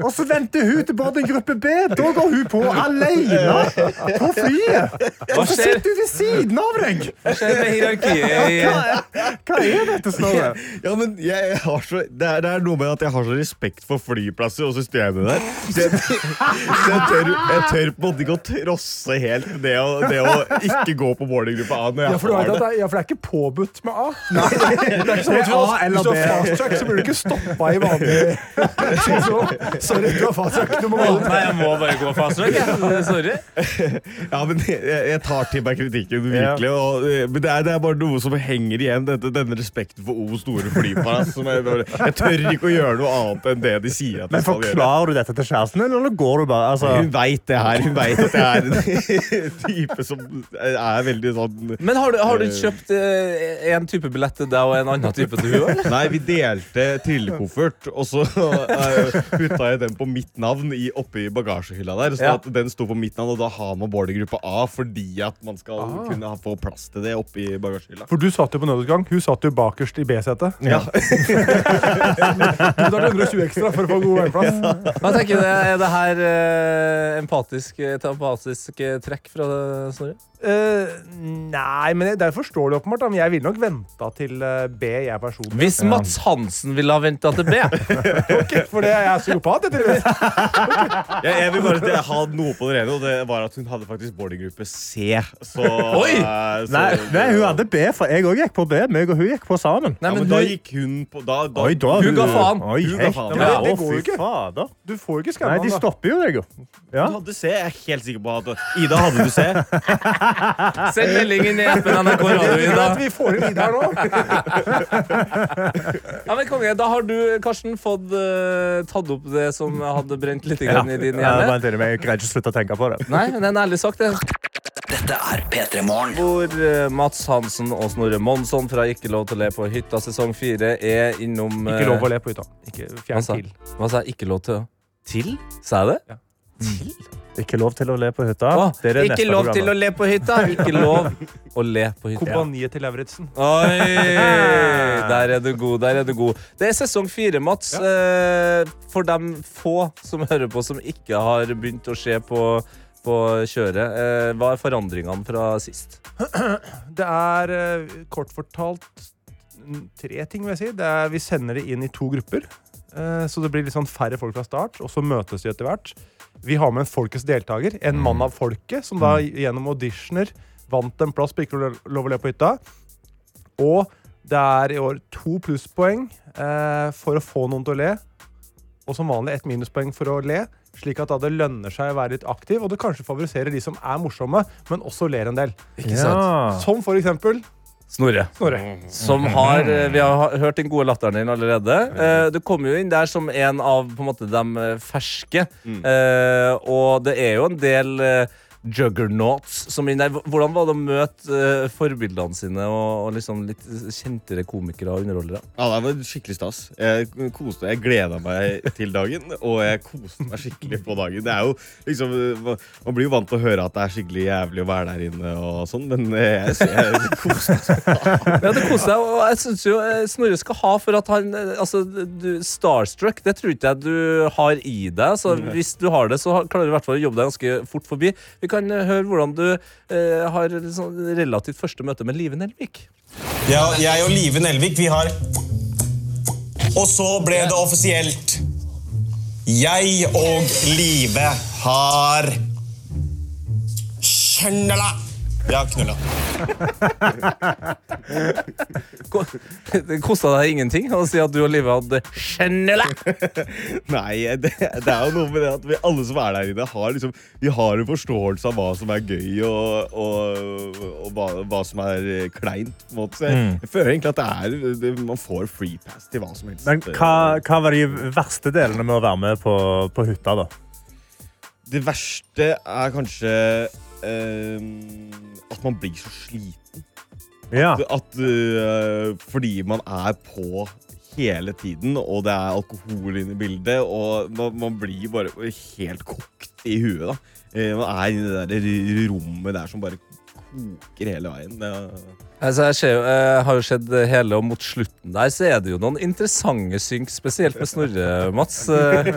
[SPEAKER 4] Og så venter hun til boardinggruppe B. Da går hun på alene på flyet. Og så
[SPEAKER 3] skjer?
[SPEAKER 4] sitter hun ved siden av deg.
[SPEAKER 3] Det er hierarkiet i
[SPEAKER 4] Hva, hva er dette, Snorre?
[SPEAKER 8] Ja, men jeg har så, det, er, det er noe med at jeg har så respekt for flyplasser og systemet der. Så jeg, så jeg, tør, jeg tør på en måte ikke å trosse helt det å, det å ikke gå på boardinggruppa A. Når jeg
[SPEAKER 9] Ja, for, du vet
[SPEAKER 8] har
[SPEAKER 9] at
[SPEAKER 8] det.
[SPEAKER 9] det er, ja, for det er ikke påbudt med A. Det er ikke sånn at
[SPEAKER 4] Det er
[SPEAKER 9] hvis du har-
[SPEAKER 4] A eller
[SPEAKER 9] Hvis du
[SPEAKER 4] B.
[SPEAKER 9] har fast track, så blir du ikke stoppa i vanlig Så- Sorry, du har fast track. Du må gå
[SPEAKER 3] Nei, jeg må bare gå fast track. jeg. Sorry.
[SPEAKER 8] Ja, men jeg, jeg tar til meg kritikken, virkelig. Og, eh, men det er, det er bare noe som henger igjen, dette, denne respekten for O store flyplass. Som jeg, bare- jeg tør ikke å gjøre noe annet enn det de sier at
[SPEAKER 4] Men
[SPEAKER 8] jeg skal gjøre.
[SPEAKER 4] Forklarer du dette til kjæresten din, eller går du bare
[SPEAKER 8] Hun
[SPEAKER 4] altså,
[SPEAKER 8] veit det her. Hun veit at jeg er en type som er veldig sånn
[SPEAKER 3] Men har du, har du kjøpt eh, en type billett til deg og en annen type til henne?
[SPEAKER 8] Nei, vi delte trillekoffert, og så eh, putta har jeg den på mitt navn i, oppe i bagasjehylla der. Så
[SPEAKER 3] Ja.
[SPEAKER 8] at den sto på mitt navn, og da har man boardinggruppe A fordi at man skal
[SPEAKER 4] Ah.
[SPEAKER 8] kunne ha, få plass til det oppe i bagasjehylla.
[SPEAKER 9] For du satt jo på nødutgang. Hun satt jo bakerst i B-setet.
[SPEAKER 8] Ja.
[SPEAKER 9] Du betalte 120 ekstra for å få god veiplass.
[SPEAKER 3] Hva tenker du, Er det her eh, empatisk, et empatisk eh, trekk fra Snorre?
[SPEAKER 9] Eh, nei, men det er forståelig, åpenbart. da, Men jeg ville nok venta til eh, B, jeg personlig.
[SPEAKER 3] Hvis Mats Hansen ville ha venta til B
[SPEAKER 9] Ok, For det er jeg psykopat, jeg tydeligvis.
[SPEAKER 8] Jeg, jeg vil bare til- ha noe på det rene, og det var at hun hadde faktisk boardinggruppe C. Så,
[SPEAKER 3] Oi!
[SPEAKER 8] eh, så-
[SPEAKER 4] Nei, nei, hun hadde B, for jeg òg gikk på B. Meg og hun gikk på sammen.
[SPEAKER 8] ja, men
[SPEAKER 3] men
[SPEAKER 8] da
[SPEAKER 3] hun-
[SPEAKER 8] gikk hun på Da, da,
[SPEAKER 4] Oi, da,
[SPEAKER 3] Hun ga faen.
[SPEAKER 4] Oi,
[SPEAKER 8] Hun ga
[SPEAKER 4] helt-
[SPEAKER 8] faen.
[SPEAKER 4] Ja,
[SPEAKER 9] Ja, det
[SPEAKER 4] å,
[SPEAKER 9] går jo
[SPEAKER 4] fy
[SPEAKER 9] ikke.
[SPEAKER 4] fader.
[SPEAKER 9] Du får jo ikke
[SPEAKER 4] Nei,
[SPEAKER 9] skamma
[SPEAKER 4] de
[SPEAKER 9] den. da.
[SPEAKER 4] stopper jo deg, jo.
[SPEAKER 8] Hun hadde C. Jeg er helt sikker på at Ida, hadde du C?
[SPEAKER 3] Send melding inn i appen NRK Radio i
[SPEAKER 9] Det er at
[SPEAKER 3] dag.
[SPEAKER 9] Vi får inn Idar nå.
[SPEAKER 3] Ja, men konge, Da har du, Karsten, fått eh, tatt opp det som hadde brent litt grann i din
[SPEAKER 4] Ja,
[SPEAKER 3] hjerne.
[SPEAKER 4] vent litt, men jeg greier ikke å slutte å tenke på det.
[SPEAKER 3] Nei, men det er en ærlig sak, det.
[SPEAKER 10] Dette er P3 Morgen.
[SPEAKER 3] Hvor eh, Mats Hansen og Snorre Monsson fra Ikke lov til å le på hytta sesong fire er innom eh,
[SPEAKER 9] Ikke lov å le på hytta. Altså. Ikke
[SPEAKER 3] Hva
[SPEAKER 9] fjern
[SPEAKER 3] sa
[SPEAKER 9] til.
[SPEAKER 3] hva sa jeg? Ikke lov til å Til? Sa jeg det?
[SPEAKER 4] Ikke lov til å le på hytta.
[SPEAKER 3] Å,
[SPEAKER 4] Det er det
[SPEAKER 3] ikke
[SPEAKER 4] neste
[SPEAKER 3] lov til å
[SPEAKER 4] programmet.
[SPEAKER 3] le på hytta! Ikke lov å le på hytta.
[SPEAKER 9] Kompaniet til Lauritzen.
[SPEAKER 3] Oi! Der er du god, der er du god. Det er sesong fire, Mats. Eh, For de få som hører på, som ikke har begynt å se på, på kjøret, eh, hva er forandringene fra sist?
[SPEAKER 9] Det er eh, kort fortalt n- tre ting, vil jeg si. Det er, vi sender det inn i to grupper. eh, Så det blir litt sånn færre folk fra start, og så møtes de etter hvert. Vi har med en folkets deltaker, en mann av folket, som da
[SPEAKER 3] Mm.
[SPEAKER 9] gjennom auditioner vant en plass på Ikke lov å le på hytta. Og det er i år to plusspoeng eh, for å få noen til å le, og som vanlig ett minuspoeng for å le. Slik at da det lønner seg å være litt aktiv, og det kanskje favoriserer de som er morsomme, men også ler en del.
[SPEAKER 3] Ikke sant?
[SPEAKER 9] Som for eksempel
[SPEAKER 3] Snorre.
[SPEAKER 9] Snorre.
[SPEAKER 3] Som har, eh, vi har hørt den gode latteren din allerede. Eh, Du kom jo inn der som en av på en måte, de eh, ferske. Eh, Og det er jo en del eh, juggernauts som er inn der. Hv- Hvordan var det å møte eh, forbildene sine og, og liksom litt kjentere komikere og underholdere?
[SPEAKER 8] Ja, det var skikkelig stas. Jeg koste Jeg gleda meg til dagen, og jeg koste meg skikkelig på dagen. Det er jo liksom Man blir jo vant til å høre at det er skikkelig jævlig å være der inne, og sånn, men jeg, jeg koste meg.
[SPEAKER 3] Ja, det koser deg, og jeg synes jo eh, Snorre skal ha for at han eh, Altså, du, Starstruck, det tror ikke jeg du har i deg. Så hvis du har det, så har- klarer du i hvert fall å jobbe deg ganske fort forbi. Vi kan eh, høre hvordan du eh, har liksom relativt første møte med Live Nelvik.
[SPEAKER 11] Ja, jeg og Live Nelvik, vi har Og så ble det offisielt. Jeg og Live har Kjønnela! Ja, knulla.
[SPEAKER 3] Ko- Det kosta deg ingenting å si at du og Live hadde skjønnele.
[SPEAKER 8] Nei, det, det er jo noe med det at vi alle som er der inne, har liksom Vi har en forståelse av hva som er gøy, og, og, og hva, hva som er kleint, på en måte. Så
[SPEAKER 4] Mm.
[SPEAKER 8] jeg, jeg føler egentlig at det er det, Man får free pass til hva som helst.
[SPEAKER 4] Men hva, hva var de verste delene med å være med på, på hytta, da?
[SPEAKER 8] Det verste er kanskje ehm, at man blir så sliten.
[SPEAKER 4] Ja.
[SPEAKER 8] At, øh, fordi man er på hele tiden, og det er alkohol inne i bildet, og man, man blir bare helt kokt i huet. da. Eh, Man er inne i det der r- rommet der som bare koker hele veien. Det er-
[SPEAKER 3] Altså, jeg, ser jo, jeg har jo sett hele, og mot slutten der så er det jo noen interessante synk, spesielt med Snorre, Mats. Eh,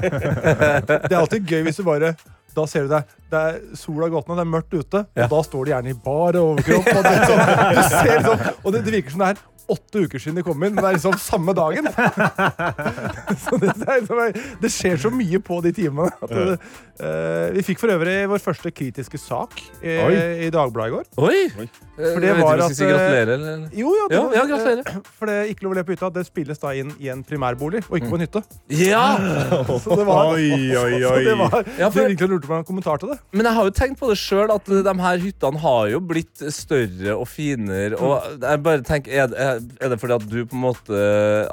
[SPEAKER 9] Det er alltid gøy hvis du bare da ser du deg. Det er sola har gått ned, det er mørkt ute, og da står de gjerne i bar overkropp. Og det, er sånn, du ser liksom, og det, det virker som det er åtte uker siden de kom inn, men det er liksom samme dagen. Så det, det, er liksom, det skjer så mye på de timene. At det, eh, vi fikk for øvrig vår første kritiske sak eh, i Dagbladet i går.
[SPEAKER 3] Oi!
[SPEAKER 8] Oi.
[SPEAKER 3] For
[SPEAKER 9] det var at,
[SPEAKER 3] si
[SPEAKER 9] eh,
[SPEAKER 3] gratulerer, eller?
[SPEAKER 9] Jo, ja, det
[SPEAKER 3] Ja,
[SPEAKER 9] var- Eh,
[SPEAKER 3] ja, gratulerer.
[SPEAKER 9] For det ikke lov å le på hytta, det spilles da inn i en primærbolig, og
[SPEAKER 3] Mm.
[SPEAKER 9] ikke på en hytte.
[SPEAKER 3] Ja!
[SPEAKER 9] Så det var,
[SPEAKER 4] Oi, oi,
[SPEAKER 9] Så det var,
[SPEAKER 3] Ja, for-
[SPEAKER 9] de virkelig lurte på en kommentar til det.
[SPEAKER 3] Men jeg har jo tenkt på det sjøl, at de her hyttene har jo blitt større og finere. Og jeg bare tenker, er, det- er det fordi at du på en måte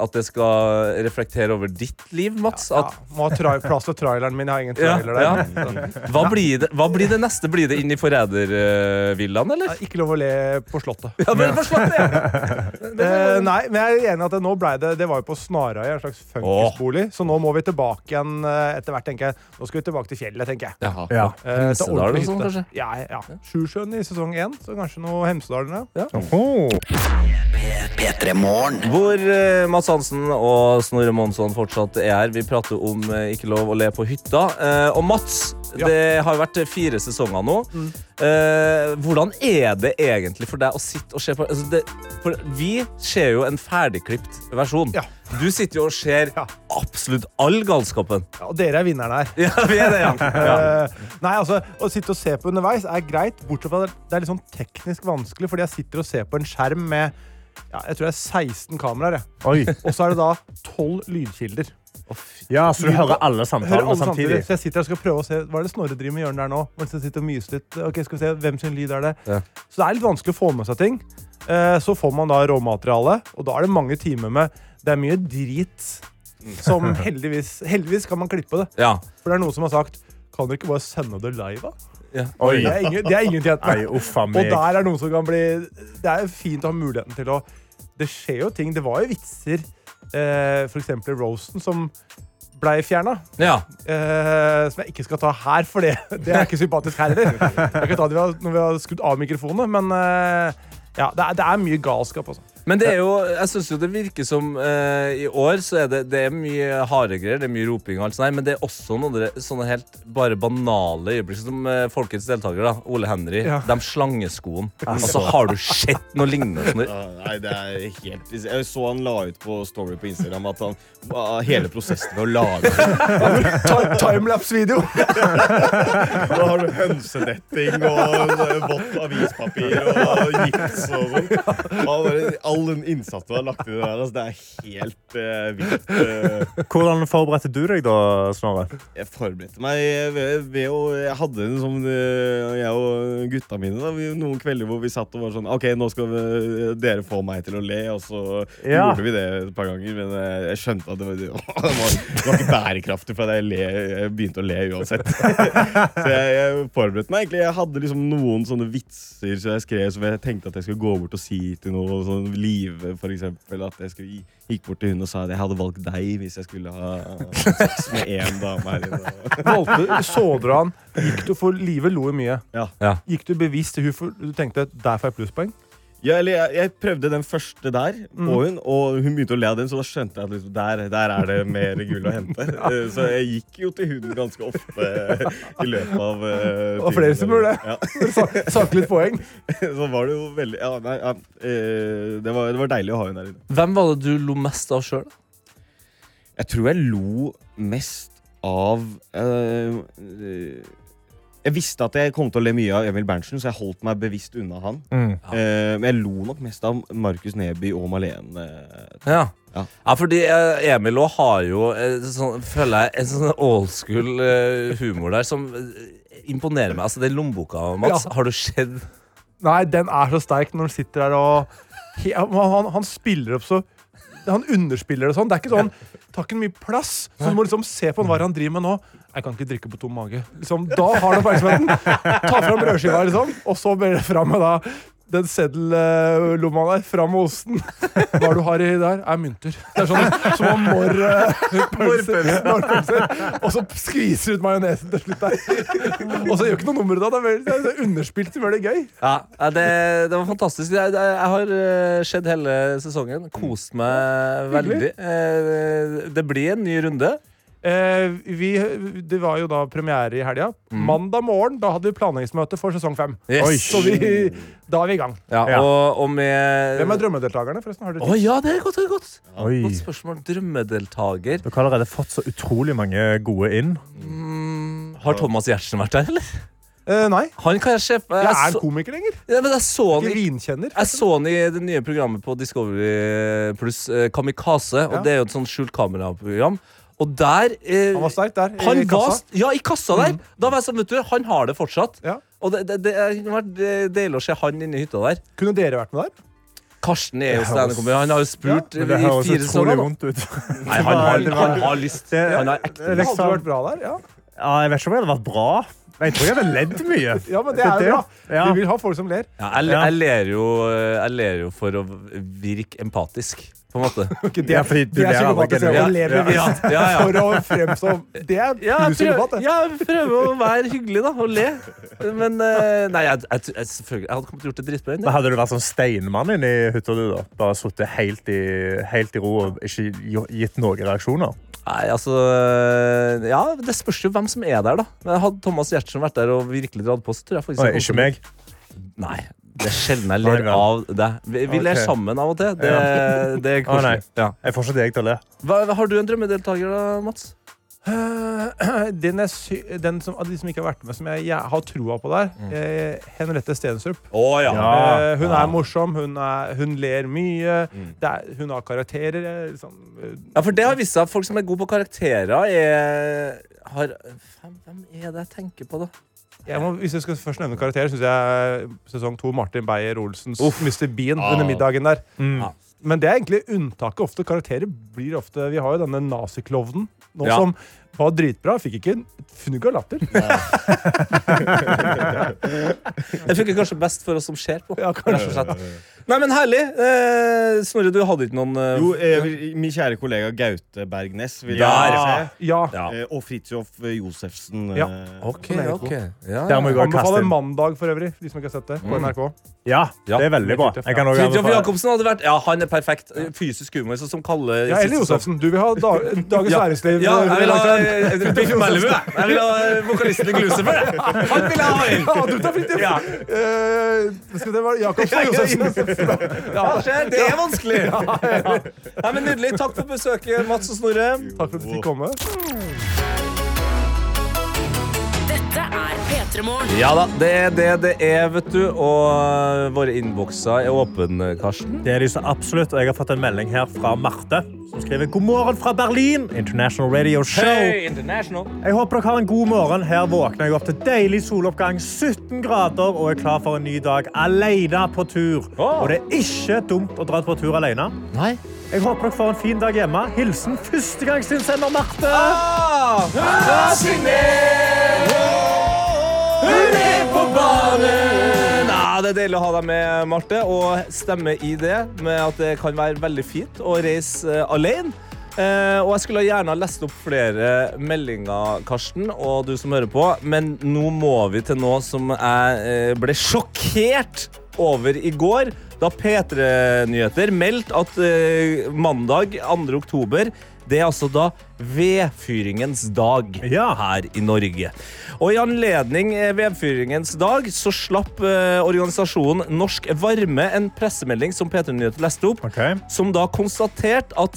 [SPEAKER 3] At det skal reflektere over ditt liv, Mats?
[SPEAKER 9] Ja,
[SPEAKER 3] At,
[SPEAKER 9] må ha tra- plass til traileren min. Jeg har ingen
[SPEAKER 3] ja,
[SPEAKER 9] trailer
[SPEAKER 3] ja.
[SPEAKER 9] der.
[SPEAKER 3] Hva, blir det, hva blir det neste? Blir det inn i forrædervillaen,
[SPEAKER 9] Det
[SPEAKER 3] eller?
[SPEAKER 9] er Ikke lov å le på Slottet.
[SPEAKER 3] Ja, men for slapp det!
[SPEAKER 9] Eh, nei, men jeg er enig i at det, nå ble det, det var jo på Snarøya, en slags funkisbolig. Så nå må vi tilbake igjen eh, etter hvert, tenker jeg. Nå skal vi tilbake til fjellet, tenker jeg.
[SPEAKER 3] Ja.
[SPEAKER 4] Ja.
[SPEAKER 9] Eh, til
[SPEAKER 3] Hemsedal
[SPEAKER 9] ordentlig
[SPEAKER 3] og sånn,
[SPEAKER 9] hytte.
[SPEAKER 3] kanskje?
[SPEAKER 9] Ja, ja. Sjusjøen i sesong én, så kanskje noe Hemsedalen, ja.
[SPEAKER 4] Oho.
[SPEAKER 12] P3 Morgen.
[SPEAKER 3] Hvor eh, Mads Hansen og Snorre Monsson fortsatt er her. Vi prater om eh, ikke lov å le på hytta. Eh, og Mats,
[SPEAKER 9] Ja. Mm.
[SPEAKER 3] det har vært fire sesonger nå. Eh, hvordan er det egentlig for deg å sitte og se på altså det, For vi ser jo en ferdigklipt versjon.
[SPEAKER 9] Ja.
[SPEAKER 3] Du sitter jo og ser
[SPEAKER 9] Ja.
[SPEAKER 3] absolutt all galskapen.
[SPEAKER 9] Ja, Og dere er vinnerne her.
[SPEAKER 3] Ja, vi er det, ja.
[SPEAKER 9] Eh, nei, altså, Å sitte og se på underveis er greit, bortsett fra at det er litt sånn teknisk vanskelig, fordi jeg sitter og ser på en skjerm med ja, jeg tror det er 16 kameraer. jeg.
[SPEAKER 4] Oi.
[SPEAKER 9] Og så er det da 12 lydkilder.
[SPEAKER 4] Ja, så du hører alle
[SPEAKER 9] Hører
[SPEAKER 4] samtalene
[SPEAKER 9] alle samtidig.
[SPEAKER 4] samtidig?
[SPEAKER 9] Så jeg sitter her og skal prøve å se hva er det Snorre driver med i hjørnet der nå. Mens jeg sitter og myser litt. Ok, skal vi se, hvem sin lyd er det?
[SPEAKER 3] Ja.
[SPEAKER 9] Så det er litt vanskelig å få med seg ting. Eh, Så får man da råmateriale, og da er det mange timer med Det er mye drit som heldigvis Heldigvis kan man klippe det.
[SPEAKER 3] ja.
[SPEAKER 9] For det er noen som har sagt Kan dere ikke bare sende det live, da?
[SPEAKER 4] Oi.
[SPEAKER 9] Det er ingen, det er ingen tjent
[SPEAKER 4] Nei,
[SPEAKER 9] med.
[SPEAKER 4] uff a
[SPEAKER 9] Og
[SPEAKER 4] meg.
[SPEAKER 9] der er noen som kan bli Det er fint å ha muligheten til å Det skjer jo ting. Det var jo vitser, eh, f.eks. i roasten, som blei fjerna.
[SPEAKER 3] ja.
[SPEAKER 9] Eh, som jeg ikke skal ta her, for det, det er ikke sympatisk her heller. Jeg kan ta det vi har- når vi har skrudd av mikrofonene, men eh, ja, det er, det er mye galskap. altså. Også.
[SPEAKER 3] Men det er jo, jeg synes jo det virker som eh, i år så er det, det er mye harde greier, det er mye roping og alt sånt, der, men det er også noen dere- sånne helt bare banale øyeblikk, som eh, folkets deltaker da, Ole Henry,
[SPEAKER 9] Ja.
[SPEAKER 3] de slangeskoen. Altså, har du sett noe lignende? Sånn?
[SPEAKER 8] Nei, det er helt Jeg så han la ut på Story på Instagram at han ah, hele prosessen med å lage
[SPEAKER 9] Timelapse-video!
[SPEAKER 8] Da har du hønsenetting og eh, vått avispapir og gips og sånn. Han bare- All den innsatsen du har lagt i det der, altså, det er helt eh, vilt. eh.
[SPEAKER 4] Hvordan forberedte du deg, da, Snorre?
[SPEAKER 8] Jeg forberedte meg eh, ved, ved å Jeg hadde en sånn eh, Jeg og gutta mine da, vi, noen kvelder hvor vi satt og var sånn OK, nå skal vi, eh, dere få meg til å le. Og så
[SPEAKER 4] Ja.
[SPEAKER 8] gjorde vi det et par ganger, men eh, jeg skjønte at det var, det var, det var ikke bærekraftig, for jeg, le, jeg begynte å le uansett. så jeg, jeg forberedte meg egentlig. Jeg hadde liksom noen sånne vitser som jeg skrev som jeg tenkte at jeg skulle gå bort og si til noe. Sånn Live, for eksempel. At jeg skulle, gikk bort til hun og sa at jeg hadde valgt deg hvis jeg skulle ha sex med én dame her inne.
[SPEAKER 9] Valgte, så du han? Gikk du for livet lo jo mye.
[SPEAKER 8] Ja.
[SPEAKER 9] Gikk du bevisst til hun for du tenkte der får jeg plusspoeng?
[SPEAKER 8] Ja, eller jeg, jeg prøvde den første der
[SPEAKER 9] Mm.
[SPEAKER 8] på hun, og hun begynte å le av den, så da skjønte jeg at liksom, der, der er det mer gull å hente. Eh, Så jeg gikk jo til hun ganske ofte eh, i løpet av uh,
[SPEAKER 9] Det var flere som gjorde det.
[SPEAKER 8] Ja.
[SPEAKER 9] Sa- Saklig poeng.
[SPEAKER 8] Så var det jo veldig Ja, nei, ja eh, det, var, det var deilig å ha hun der inne.
[SPEAKER 3] Hvem var det du lo mest av selv? da?
[SPEAKER 8] Jeg tror jeg lo mest av eh, Jeg visste at jeg kom til å le mye av Emil Berntsen, så jeg holdt meg bevisst unna han. Eh, men jeg lo nok mest av Markus Neby og Malene. eh,
[SPEAKER 3] Ja.
[SPEAKER 8] Ja.
[SPEAKER 3] Ja, fordi eh, Emil også har jo, eh, sånn, føler jeg, en sånn old school eh, humor der som eh, imponerer meg. Altså, den lommeboka, Mats,
[SPEAKER 9] Ja.
[SPEAKER 3] har du sett?
[SPEAKER 9] Nei, den er så sterk når han sitter der og he- han, han, han spiller opp så Han underspiller det sånn. Det er ikke sånn Tar ikke mye plass. Så du må liksom se på han, hva er det han driver med nå. Jeg kan ikke drikke på tom mage. Liksom, da har han oppmerksomheten. Ta fram brødskiva, liksom. Og så ber det fram med da den seddellomma der. Fram med osten. Hva er det du har i der? Er mynter. Det er sånn som om mor... eh, pølser. Morpølser. Og så skviser du ut majonesen til slutt der. Og så gjør ikke noe nummer ut av det. Det er så underspilt som gjør det gøy.
[SPEAKER 3] Ja, ja, det, det var fantastisk. Jeg, jeg, jeg har eh, sett hele sesongen. Kost meg veldig. Eh, det blir en ny runde.
[SPEAKER 9] Eh, vi, det var jo da premiere i helga. Mandag morgen da hadde vi planleggingsmøte for sesong fem.
[SPEAKER 3] Mm. Yes.
[SPEAKER 4] Oi.
[SPEAKER 9] Så vi, da er vi i gang.
[SPEAKER 3] Ja,
[SPEAKER 4] Ja.
[SPEAKER 3] Og, og med
[SPEAKER 9] Hvem er drømmedeltakerne? forresten? Har dere
[SPEAKER 3] Å ja, det er godt. Det er godt.
[SPEAKER 4] Oi.
[SPEAKER 3] godt spørsmål. Drømmedeltaker.
[SPEAKER 4] Dere har allerede fått så utrolig mange gode inn.
[SPEAKER 3] Har Thomas Giertsen vært der, eller?
[SPEAKER 9] Eh, nei.
[SPEAKER 3] Han kan jeg se på.
[SPEAKER 9] Jeg
[SPEAKER 3] Jeg,
[SPEAKER 9] er en
[SPEAKER 3] så,
[SPEAKER 9] komiker lenger.
[SPEAKER 3] ja, men jeg, så han
[SPEAKER 9] Ikke
[SPEAKER 3] i,
[SPEAKER 9] vinkjenner.
[SPEAKER 3] jeg så han i det nye programmet på Discovery pluss eh, Kamikaze, og
[SPEAKER 9] Ja.
[SPEAKER 3] det er jo et sånt skjult kameraprogram. Og der eh,
[SPEAKER 9] Han var sterk der. i
[SPEAKER 3] han var,
[SPEAKER 9] kassa.
[SPEAKER 3] ja, i kassa der. Da var jeg sånn, vet du, han har det fortsatt.
[SPEAKER 9] Ja.
[SPEAKER 3] Og det, det, det er- det har vært deilig å se han inne i hytta der.
[SPEAKER 9] Kunne dere vært med der?
[SPEAKER 3] Karsten er jo standup-komiker. Han har jo spurt
[SPEAKER 4] Men
[SPEAKER 3] i
[SPEAKER 4] høres
[SPEAKER 3] fire
[SPEAKER 4] utrolig
[SPEAKER 3] sesonger. nå.
[SPEAKER 4] vondt ut.
[SPEAKER 3] Nei, han, har- han har lyst.
[SPEAKER 4] Det-
[SPEAKER 3] Han har ekte
[SPEAKER 9] Det hadde
[SPEAKER 4] Liksom-
[SPEAKER 9] vært bra der, ja.
[SPEAKER 4] Ja, jeg vet ikke om jeg hadde vært bra. Men Jeg tror jeg hadde ledd mye.
[SPEAKER 9] ja men det er jo bra.
[SPEAKER 4] Ja.
[SPEAKER 9] Vi vil ha folk som ler.
[SPEAKER 3] Ja, jeg, jeg, ler jo, eh, jeg ler jo for å virke empatisk, på en måte.
[SPEAKER 9] Ok, det,
[SPEAKER 4] Ja,
[SPEAKER 9] er,
[SPEAKER 4] fordi
[SPEAKER 9] det
[SPEAKER 4] det
[SPEAKER 9] er
[SPEAKER 4] er
[SPEAKER 9] psykopatisk
[SPEAKER 4] alle
[SPEAKER 9] å
[SPEAKER 3] generelt.
[SPEAKER 9] le
[SPEAKER 3] Ja,
[SPEAKER 9] bevisst
[SPEAKER 3] ja, ja, ja.
[SPEAKER 9] for å fremstå Det er
[SPEAKER 3] Ja, jeg,
[SPEAKER 9] psykopat,
[SPEAKER 3] prøver,
[SPEAKER 9] det.
[SPEAKER 3] ja, jeg prøver å være hyggelig, da, og le. Men eh, nei, jeg, jeg, jeg, selvfølgelig, jeg hadde kommet til å gjort det dritbra.
[SPEAKER 4] Men
[SPEAKER 3] inn,
[SPEAKER 4] hadde du vært sånn steinmann inni hytta du, da? Bare sittet helt, i- helt i ro og ikke jo- gitt noen reaksjoner?
[SPEAKER 3] jeg. Nei, altså eh, Ja, det spørs jo hvem som er der, da. Men Hadde Thomas Giertsen vært der og virkelig dratt på, så tror jeg faktisk
[SPEAKER 4] Oi,
[SPEAKER 3] jeg
[SPEAKER 4] ikke
[SPEAKER 3] kom til-
[SPEAKER 4] meg.
[SPEAKER 3] Nei. Det er sjelden jeg
[SPEAKER 4] Nei,
[SPEAKER 3] ler
[SPEAKER 4] vel.
[SPEAKER 3] av deg. Vi, vi ler
[SPEAKER 4] Ok.
[SPEAKER 3] sammen av og til. Det, det er
[SPEAKER 4] Å, nei.
[SPEAKER 3] koselig. Ja.
[SPEAKER 4] Jeg får ikke deg til å le.
[SPEAKER 3] Hva, har du en drømmedeltaker, da, Mats?
[SPEAKER 9] Eh, Den, jeg sy den som, av de som ikke har vært med, som jeg, jeg har troa på der,
[SPEAKER 4] Mm.
[SPEAKER 9] eh, Henriette Stenstrup.
[SPEAKER 4] Ah,
[SPEAKER 9] Eh, hun er morsom, hun, er, hun ler mye.
[SPEAKER 4] Mm.
[SPEAKER 9] Det er, hun har karakterer. eh, Liksom. eh,
[SPEAKER 3] Ja, for det har vist seg at folk som er gode på karakterer, er har, Faen, Hvem er det jeg tenker på, da?
[SPEAKER 9] Jeg må, hvis jeg skal først nevne karakterer, syns jeg eh, sesong to Martin Beyer-Olsens Mr. Bean
[SPEAKER 4] Ah.
[SPEAKER 9] under middagen der.
[SPEAKER 4] Mm.
[SPEAKER 9] Mm.
[SPEAKER 3] Ja.
[SPEAKER 9] Men det er egentlig unntaket. Ofte Karakterer blir ofte Vi har jo denne naziklovnen nå
[SPEAKER 3] Ja.
[SPEAKER 9] som var dritbra. Fikk ikke en fnugg av latter.
[SPEAKER 3] Det funker kanskje best for oss som ser på.
[SPEAKER 9] Ja, kanskje.
[SPEAKER 3] rett og slett. Nei, men herlig. Eh, Snorre, du hadde ikke noen eh,
[SPEAKER 8] Jo, eh, min kjære kollega Gaute Bergnes vil
[SPEAKER 3] Ja.
[SPEAKER 8] jeg
[SPEAKER 9] Ja.
[SPEAKER 8] se. Eh, Og Fridtjof Josefsen.
[SPEAKER 9] Ja.
[SPEAKER 8] eh,
[SPEAKER 3] Ok,
[SPEAKER 9] Som er
[SPEAKER 3] ok. Ja,
[SPEAKER 4] Der må jeg gå og kaste
[SPEAKER 9] Anbefaler
[SPEAKER 4] inn. Mm.
[SPEAKER 9] Mandag for øvrig, de som ikke har sett det, på NRK.
[SPEAKER 4] Ja, det er veldig bra. Jeg kan også
[SPEAKER 3] Fridtjof
[SPEAKER 4] anbefale-
[SPEAKER 3] Jacobsen hadde vært Ja, han er perfekt. Fysisk humor, sånn som Kalle
[SPEAKER 9] Ja, eller Josefsen. Du vil ha dag, Dagens
[SPEAKER 3] Ja.
[SPEAKER 9] Næringsliv.
[SPEAKER 3] Ja, jeg vil ha
[SPEAKER 9] redaktøren.
[SPEAKER 3] eh, Biff Melbu, jeg. Jeg vil ha eh, vokalisten i Glucifer, jeg. Han vil jeg ha inn.
[SPEAKER 9] Ja, du tar Fridtjof.
[SPEAKER 3] Ja.
[SPEAKER 9] Eh, skal det være Jacobsen og Josefsen?
[SPEAKER 3] Ja, skjer. Det er vanskelig. Nei, men Nydelig. Takk for besøket, Mats og Snorre.
[SPEAKER 9] Takk for at du fikk komme.
[SPEAKER 2] Dette er P3 Morgen.
[SPEAKER 3] Ja da, det er det det er, vet du. Og eh, våre innbokser er åpne, Karsten.
[SPEAKER 4] Det er de så absolutt, og jeg har fått en melding her fra Marte, som skriver God morgen fra Berlin, International Radio Show.
[SPEAKER 3] International.
[SPEAKER 4] Jeg håper dere har en god morgen. Her våkner jeg opp til deilig soloppgang, 17 grader, og er klar for en ny dag alene på tur.
[SPEAKER 3] Åh.
[SPEAKER 4] Og det er ikke dumt å dra på tur alene.
[SPEAKER 3] Nei.
[SPEAKER 4] Jeg håper dere får en fin dag hjemme. Hilsen førstegangsinnsender Marte.
[SPEAKER 3] Ah! Ja, det er deilig å ha deg med, Marte, og stemme i det med at det kan være veldig fint å reise eh, alene. Eh, og jeg skulle gjerne ha lest opp flere meldinger, Karsten, og du som hører på, men nå må vi til noe som jeg eh, ble sjokkert over i går, da P3 Nyheter meldte at eh, mandag 2. oktober det er altså da vedfyringens dag
[SPEAKER 4] Ja.
[SPEAKER 3] her i Norge. Og i anledning eh, vedfyringens dag så slapp eh, organisasjonen Norsk Varme en pressemelding som P3 Nyheter leste opp,
[SPEAKER 4] Ok.
[SPEAKER 3] som da konstaterte at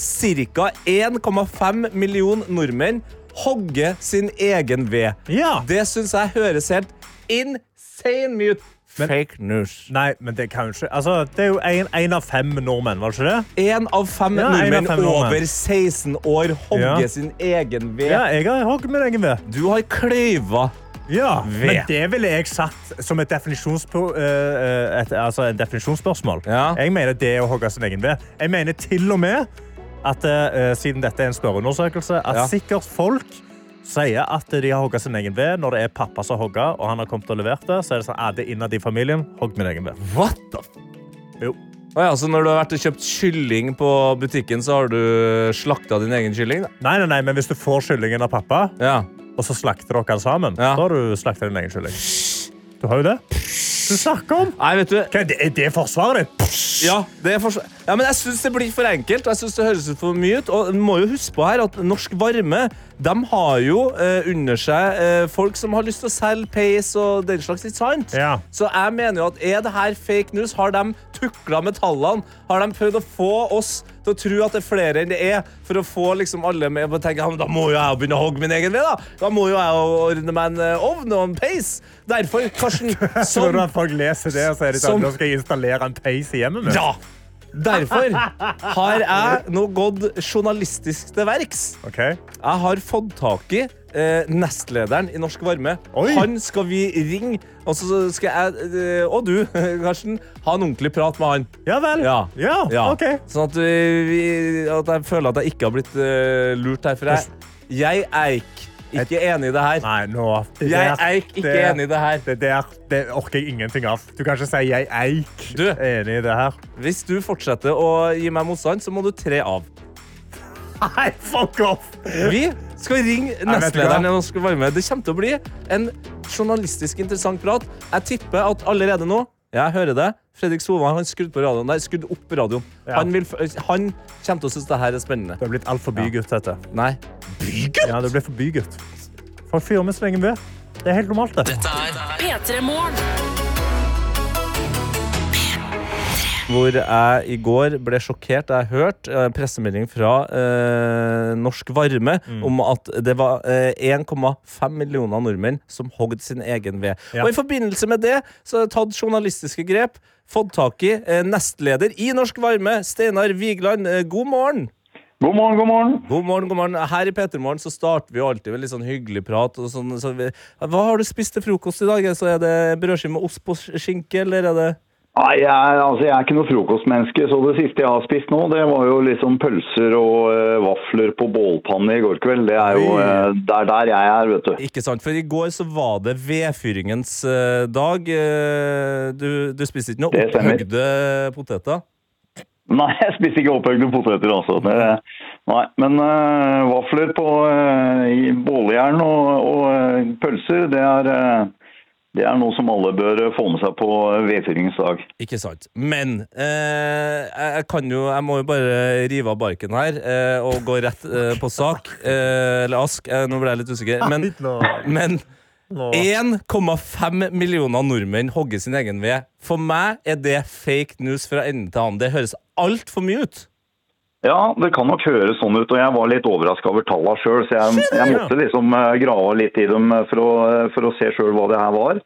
[SPEAKER 3] ca. 1,5 million nordmenn hogger sin egen ved.
[SPEAKER 4] Ja.
[SPEAKER 3] Det syns jeg høres helt insane mye ut. Fake news.
[SPEAKER 4] Nei, men det kan jo ikke. Altså, det er jo en, en av fem nordmenn, var det ikke det?
[SPEAKER 3] Én av fem
[SPEAKER 4] Ja, en av
[SPEAKER 3] nordmenn
[SPEAKER 4] fem nordmenn.
[SPEAKER 3] over 16 år hogger
[SPEAKER 4] Ja.
[SPEAKER 3] sin egen ved.
[SPEAKER 4] Ja, jeg har hogd min egen ved.
[SPEAKER 3] Du har kløyva.
[SPEAKER 4] Ja,
[SPEAKER 3] Ved.
[SPEAKER 4] men det ville jeg satt som et, definisjonspo- eh, eh, et altså en definisjonsspørsmål.
[SPEAKER 3] Ja.
[SPEAKER 4] Jeg mener det er å hogge sin egen ved. Jeg mener til og med at eh, siden dette er en spørreundersøkelse, at
[SPEAKER 3] Ja.
[SPEAKER 4] sikkert folk sier at de har hogget sin egen ved når det er pappa som hogger, og han har kommet og levert det, så er det sånn, ah, det er innad i familien, hogg min egen ved.
[SPEAKER 3] What the f...
[SPEAKER 4] Jo.
[SPEAKER 3] Å ja, så når du har vært og kjøpt kylling på butikken, så har du slakta din egen kylling? da?
[SPEAKER 4] Nei, nei, nei, men hvis du får kyllingen av pappa,
[SPEAKER 3] Ja.
[SPEAKER 4] og så slakter dere den sammen,
[SPEAKER 3] Ja.
[SPEAKER 4] da har du slaktet din egen kylling. Du har jo det. Du snakker om.
[SPEAKER 3] Nei, vet du
[SPEAKER 4] Hva, er det, er det forsvaret ditt?
[SPEAKER 3] Ja, det er for... ja men jeg syns det blir for enkelt. og Jeg synes det høres ut for mye ut. Og en må jo huske på her at Norsk Varme de har jo eh, under seg eh, folk som har lyst til å selge peis og den slags. Ikke sant?
[SPEAKER 4] Ja.
[SPEAKER 3] Så jeg mener jo at er det her fake news? Har de tukla med tallene? Har de prøvd å få oss til å tro at det er flere enn det er, for å få liksom alle med på å tenke ja, men da må jo jeg begynne å hogge min egen ved? Da Da må jo jeg ordne meg en eh, ovn og en peis. Derfor, Karsten,
[SPEAKER 4] Tror
[SPEAKER 3] sånn
[SPEAKER 4] du at folk leser det og så er de sånn,
[SPEAKER 3] Som-
[SPEAKER 4] nå skal jeg installere en peis i hjemmet mitt?
[SPEAKER 3] ja! Derfor har jeg nå gått journalistisk til verks.
[SPEAKER 4] Ok.
[SPEAKER 3] Jeg har fått tak i eh, nestlederen i Norsk Varme.
[SPEAKER 4] Oi.
[SPEAKER 3] Han skal vi ringe, og så skal jeg, eh, og du, Karsten, ha en ordentlig prat med han.
[SPEAKER 4] Ja vel.
[SPEAKER 3] Ja.
[SPEAKER 4] ja.
[SPEAKER 3] Ja.
[SPEAKER 4] Ah, ok.
[SPEAKER 3] Sånn at, eh, vi, at jeg føler at jeg ikke har blitt eh, lurt her, for jeg, jeg er ikke, ikke enig i det her.
[SPEAKER 4] Nei, nå det
[SPEAKER 3] Jeg
[SPEAKER 4] der-
[SPEAKER 3] er ikke- ikke
[SPEAKER 4] det-
[SPEAKER 3] enig i det her.
[SPEAKER 4] Det der det orker jeg ingenting av. Du kan ikke si 'jeg eik'
[SPEAKER 3] Du.
[SPEAKER 4] enig i det her.
[SPEAKER 3] Hvis du fortsetter å gi meg motstand, så må du tre av.
[SPEAKER 4] Nei, fuck off!
[SPEAKER 3] Vi skal ringe
[SPEAKER 4] hva?
[SPEAKER 3] nestlederen i Norsk Varme. Det kommer til å bli en journalistisk interessant prat. Jeg tipper at allerede nå Jeg hører det. Fredrik Solvang har skrudd på radioen. Nei, skrudd opp radioen.
[SPEAKER 4] Ja.
[SPEAKER 3] Han, vil, f- han kommer til å synes det her er spennende.
[SPEAKER 4] Du er blitt altfor bygutt, dette.
[SPEAKER 3] Nei.
[SPEAKER 4] Ja, du ble for bygutt. Folk fyrer med så lenge ved. Det er helt normalt, det.
[SPEAKER 2] P3 Morgen.
[SPEAKER 3] Hvor jeg i går ble sjokkert da jeg hørte eh, en pressemelding fra eh, Norsk Varme om at det var eh, 1,5 millioner nordmenn som hogde sin egen ved.
[SPEAKER 4] Ja.
[SPEAKER 3] Og i forbindelse med det så har jeg tatt journalistiske grep. Fått tak i eh, nestleder i Norsk Varme, Steinar Vigeland. Eh, god morgen!
[SPEAKER 7] God morgen, god morgen.
[SPEAKER 3] God morgen, god morgen. Her i Petermorgen så starter vi jo alltid med litt sånn hyggelig prat. Og sånn, så vi, hva har du spist til frokost i dag? Så er det brødskive med ost på skinke, eller er det
[SPEAKER 13] Nei, jeg, er- altså, jeg er ikke noe frokostmenneske, så det siste jeg har spist nå, det var jo liksom pølser og eh, vafler på bålpanne i går kveld. Det er jo eh, det er der jeg er, vet du.
[SPEAKER 3] Ikke sant, for i går så var det vedfyringens eh, dag. Eh, Du, du spiste ikke noe
[SPEAKER 13] Det stemmer.
[SPEAKER 3] opphøgde poteter?
[SPEAKER 13] Nei, jeg spiser ikke opphøgde poteter, altså. Det, nei, men eh, vafler på eh, i båljern og, og eh, pølser, det er, eh, det er noe som alle bør eh, få med seg på eh, vedfyringens dag.
[SPEAKER 3] Ikke sant. Men eh, jeg jeg kan jo Jeg må jo bare rive av barken her eh, og gå rett eh, på sak. Eh, eller ask. Eh, nå ble jeg litt usikker. Men, men 1,5 millioner nordmenn hogger sin egen ved. For meg er det fake news fra ende til annen. Det høres altfor mye ut.
[SPEAKER 13] Ja, det kan nok høres sånn ut, og jeg var litt overraska over tallene sjøl, så jeg, jeg måtte liksom eh, grave litt i dem eh, for å, eh, for å se sjøl hva det her var.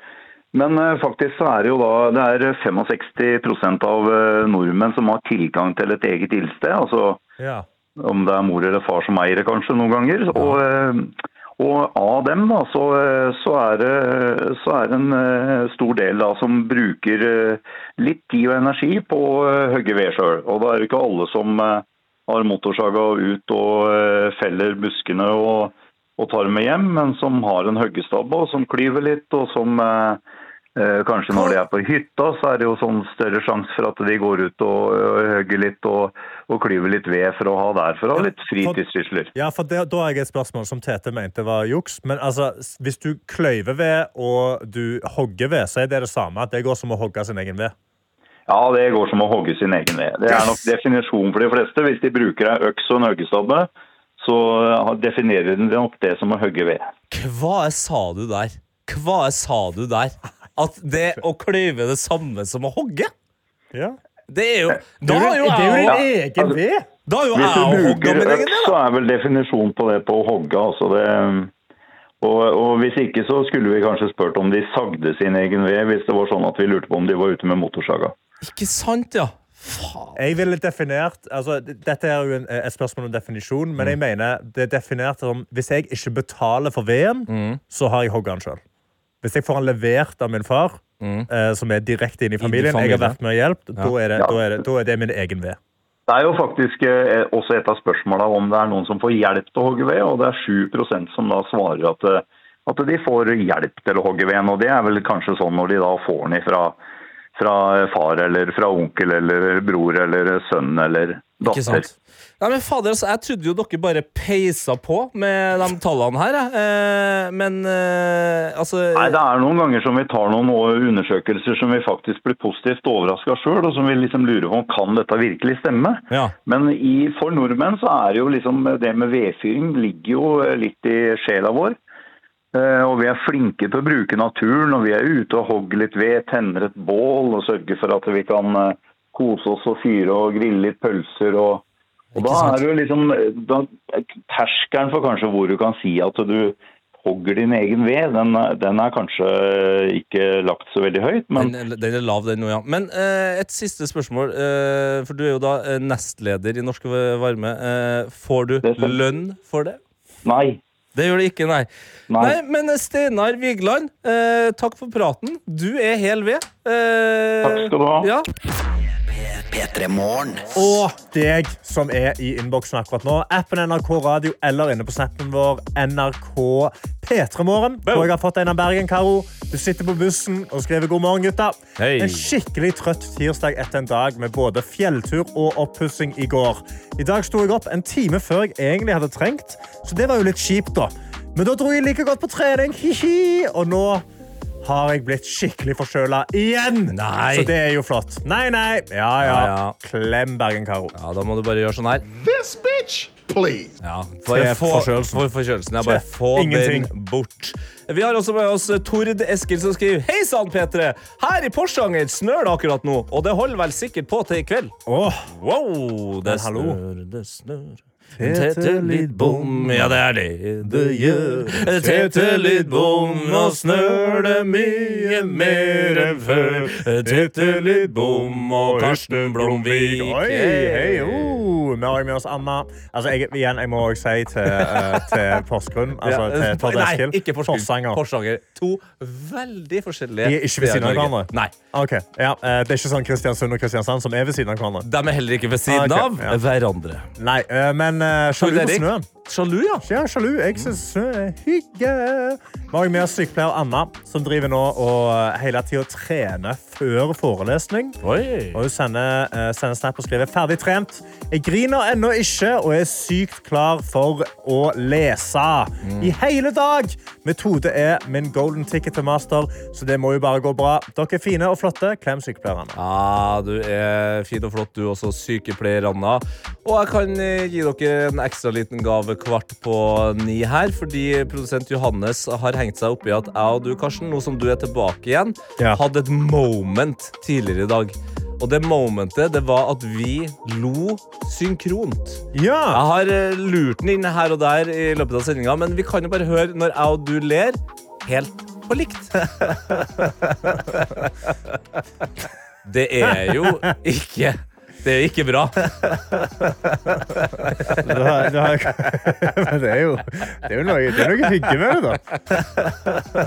[SPEAKER 13] Men eh, faktisk så er det jo da det er 65 av eh, nordmenn som har tilgang til et eget ildsted. Altså
[SPEAKER 4] Ja.
[SPEAKER 13] om det er mor eller far som eier det kanskje noen ganger. Og, eh, og av dem da, så, eh, så, er det, så er det en eh, stor del da, som bruker eh, litt tid og energi på å eh, hogge ved sjøl. Og da er det ikke alle som eh, har motorsaga ut og eh, feller buskene og, og tar med hjem, men som har en hoggestabbe og som klyver litt. og som... eh, eh, Kanskje når de er på hytta, så er det jo sånn større sjanse for at de går ut og, og hogger litt og, og klyver litt ved for å ha derfra litt fritidssysler.
[SPEAKER 4] Ja, for det, Da har jeg et spørsmål som Tete mente var juks. Men altså, s- hvis du kløyver ved og du hogger ved, så er det det samme. Det går som å hogge sin egen ved.
[SPEAKER 13] Ja, det går som å hogge sin egen ved. Det er nok definisjonen for de fleste. Hvis de bruker ei øks og en hoggestabbe, så eh, definerer de nok det som å hogge ved.
[SPEAKER 3] Hva sa du der? Hva sa du der? At det å kløyve er det samme som å hogge?
[SPEAKER 4] Ja.
[SPEAKER 3] Det er jo Da har jo jeg
[SPEAKER 13] Ja,
[SPEAKER 3] òg
[SPEAKER 13] altså,
[SPEAKER 4] ved?
[SPEAKER 3] Da har jo
[SPEAKER 13] Eh, Hvis du
[SPEAKER 3] jeg òg hogga
[SPEAKER 13] bruker
[SPEAKER 3] min egen
[SPEAKER 13] øks,
[SPEAKER 3] del,
[SPEAKER 13] eh, så
[SPEAKER 3] da.
[SPEAKER 13] er vel definisjonen på det på å hogge. Altså det, og, og hvis ikke, så skulle vi kanskje spurt om de sagde sin egen ved, hvis det var sånn at vi lurte på om de var ute med motorsaga.
[SPEAKER 3] Ikke sant, ja. Faen.
[SPEAKER 4] Jeg ville definert, altså, d- Dette er jo en, eh, et spørsmål om definisjon, men jeg mener det er definert som hvis jeg ikke betaler for veden, så har jeg hogga den sjøl. Hvis jeg får den levert av min far, eh, som er direkte inn i familien, jeg har
[SPEAKER 3] familien.
[SPEAKER 4] vært med og hjulpet, da, er det,
[SPEAKER 13] Ja.
[SPEAKER 4] da, er det, da er det min egen ved.
[SPEAKER 13] Det er jo faktisk eh, også et av spørsmåla om det er noen som får hjelp til å hogge ved, og det er 7 som da svarer at, eh, at de får hjelp til å hogge veden. Og det er vel kanskje sånn når de da får den ifra fra far eller fra onkel eller bror eller sønn eller
[SPEAKER 3] Ikke
[SPEAKER 13] datter.
[SPEAKER 3] sant. Nei, men fader, altså, Jeg trodde jo dere bare peisa på med de tallene her, jeg. Eh, men eh, altså
[SPEAKER 13] Nei, Det er noen ganger som vi tar noen undersøkelser som vi faktisk blir positivt overraska sjøl, og som vi liksom lurer på om kan dette virkelig stemme.
[SPEAKER 3] Ja.
[SPEAKER 13] Men i, for nordmenn så er det jo liksom det med vedfyring ligger jo eh, litt i sjela vår. Eh, Og vi er flinke til å bruke naturen, og vi er ute og hogger litt ved, tenner et bål og sørger for at vi kan eh, kose oss og fyre og grille litt pølser. og, og Da
[SPEAKER 3] sant?
[SPEAKER 13] er det jo liksom da, terskelen for kanskje hvor du kan si at du hogger din egen ved, den, den er kanskje eh, ikke lagt så veldig høyt, men
[SPEAKER 3] Den, eh, den er lav, den nå, ja. Men eh, et siste spørsmål. eh, for du er jo da eh, nestleder i Norske Varme. Eh, får du lønn for det?
[SPEAKER 13] Nei.
[SPEAKER 3] Det gjør det ikke, nei. Nei, men eh, Steinar Vigeland, eh, takk for praten. Du er hel ved. Eh, takk
[SPEAKER 13] skal du ha.
[SPEAKER 3] Ja.
[SPEAKER 4] Og deg som er i innboksen akkurat nå. Appen NRK Radio eller inne på snappen vår NRK P3morgen. Og jeg har fått en av Bergen, Karo. Du sitter på bussen og skriver god morgen, gutta.
[SPEAKER 3] Hei.
[SPEAKER 4] En skikkelig trøtt tirsdag etter en dag med både fjelltur og oppussing i går. I dag sto jeg opp en time før jeg egentlig hadde trengt, så det var jo litt kjipt, da. Men da dro jeg like godt på trening, hi-hi, og nå har jeg blitt skikkelig forkjøla igjen.
[SPEAKER 3] Nei.
[SPEAKER 4] Så det er jo flott. Nei, nei. Ja, ja.
[SPEAKER 3] Ja, ja.
[SPEAKER 4] Klem Bergen, Karo.
[SPEAKER 3] ja, da må du bare gjøre sånn her.
[SPEAKER 9] This bitch, please.
[SPEAKER 3] Ja, bare
[SPEAKER 4] Treff
[SPEAKER 3] få
[SPEAKER 4] forkjølelsen.
[SPEAKER 3] for forkjølelsen. Ja, bare
[SPEAKER 4] Treff
[SPEAKER 3] få
[SPEAKER 4] ingenting.
[SPEAKER 3] den bort. Vi har også med oss Tord Eskil som skriver Hei sann, P3! Her i Porsanger snør det akkurat nå, og det holder vel sikkert på til i kveld.
[SPEAKER 4] Åh,
[SPEAKER 3] Wow, det
[SPEAKER 4] Men hallo.
[SPEAKER 3] snør, det snør. Tete litt bom, ja det er det det gjør. Tete litt bom, og snør det mye mer enn før. Tete litt bom, og Karsten Blomvik.
[SPEAKER 4] Oi, hei, oh. Vi har også med oss Anna. Altså, jeg, igjen, jeg må også si til, eh, til Porsgrunn. Altså,
[SPEAKER 3] Ja,
[SPEAKER 4] til Todd Eskil.
[SPEAKER 3] Nei, ikke Porsgrunn.
[SPEAKER 4] Porsanger.
[SPEAKER 3] Porsanger. To veldig forskjellige
[SPEAKER 4] De er ikke ved siden
[SPEAKER 3] steder
[SPEAKER 4] av
[SPEAKER 3] i Norge.
[SPEAKER 4] hverandre? Ok, ja, eh, Det er ikke sånn Kristiansund og Kristiansand som er ved siden av hverandre.
[SPEAKER 3] Nei, de er heller ikke ved siden
[SPEAKER 4] Ah,
[SPEAKER 3] av
[SPEAKER 4] ok, ja.
[SPEAKER 3] hverandre.
[SPEAKER 4] Nei, eh, men eh, sjalu på
[SPEAKER 3] Erik.
[SPEAKER 4] snøen.
[SPEAKER 3] Sjalu, ja.
[SPEAKER 4] Ja, sjalu. Jeg syns snø er hygge. Vi har også med oss sykepleier Anna, som driver nå og eh, hele tida trener før forelesning. Og hun sender, eh, sender snap og skriver ferdig trent. Jeg griner ennå ikke og er sykt klar for å lese i hele dag. Metode er min golden ticket til master, så det må jo bare gå bra. Dere er fine og flotte. Klem sykepleierne.
[SPEAKER 3] Ja, Ah, du er fin og flott, du også, sykepleier Anna. Og jeg kan eh, gi dere en ekstra liten gave kvart på ni her, fordi produsent Johannes har hengt seg opp i at jeg og du, Karsten, nå som du er tilbake igjen,
[SPEAKER 4] Ja.
[SPEAKER 3] hadde et moment tidligere i dag. Og det momentet, det var at vi lo synkront.
[SPEAKER 4] Ja!
[SPEAKER 3] Jeg har eh, lurt den inn her og der i løpet av sendinga, men vi kan jo bare høre når jeg og du ler, helt på likt. Det er jo ikke Det er ikke bra.
[SPEAKER 4] Det, har, det, har, men det er jo, det er jo noe, det er noe hygge med det, da.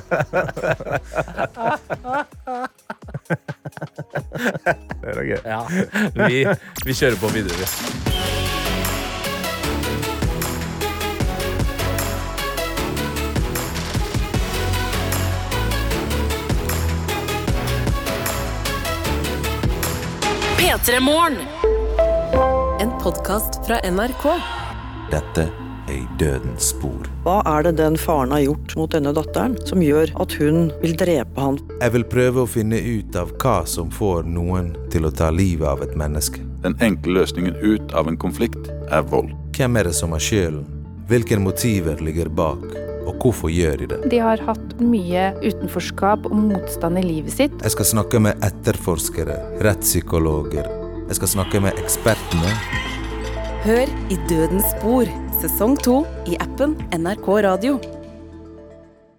[SPEAKER 4] Det er noe.
[SPEAKER 3] Vi, vi kjører på videre. vi.
[SPEAKER 2] P3 Morgen. En podkast fra NRK.
[SPEAKER 14] Dette er i dødens spor.
[SPEAKER 15] Hva er det den faren har gjort mot denne datteren som gjør at hun vil drepe han?
[SPEAKER 16] Jeg vil prøve å finne ut av hva som får noen til å ta livet av et menneske.
[SPEAKER 17] Den enkle løsningen ut av en konflikt er vold.
[SPEAKER 16] Hvem er det som har skylden? Hvilke motiver ligger bak? Og hvorfor gjør de det?
[SPEAKER 18] De har hatt mye utenforskap og motstand i livet sitt.
[SPEAKER 16] Jeg skal snakke med etterforskere, rettspsykologer. Jeg skal snakke med ekspertene.
[SPEAKER 6] Hør i Dødens spor, sesong to i appen NRK Radio.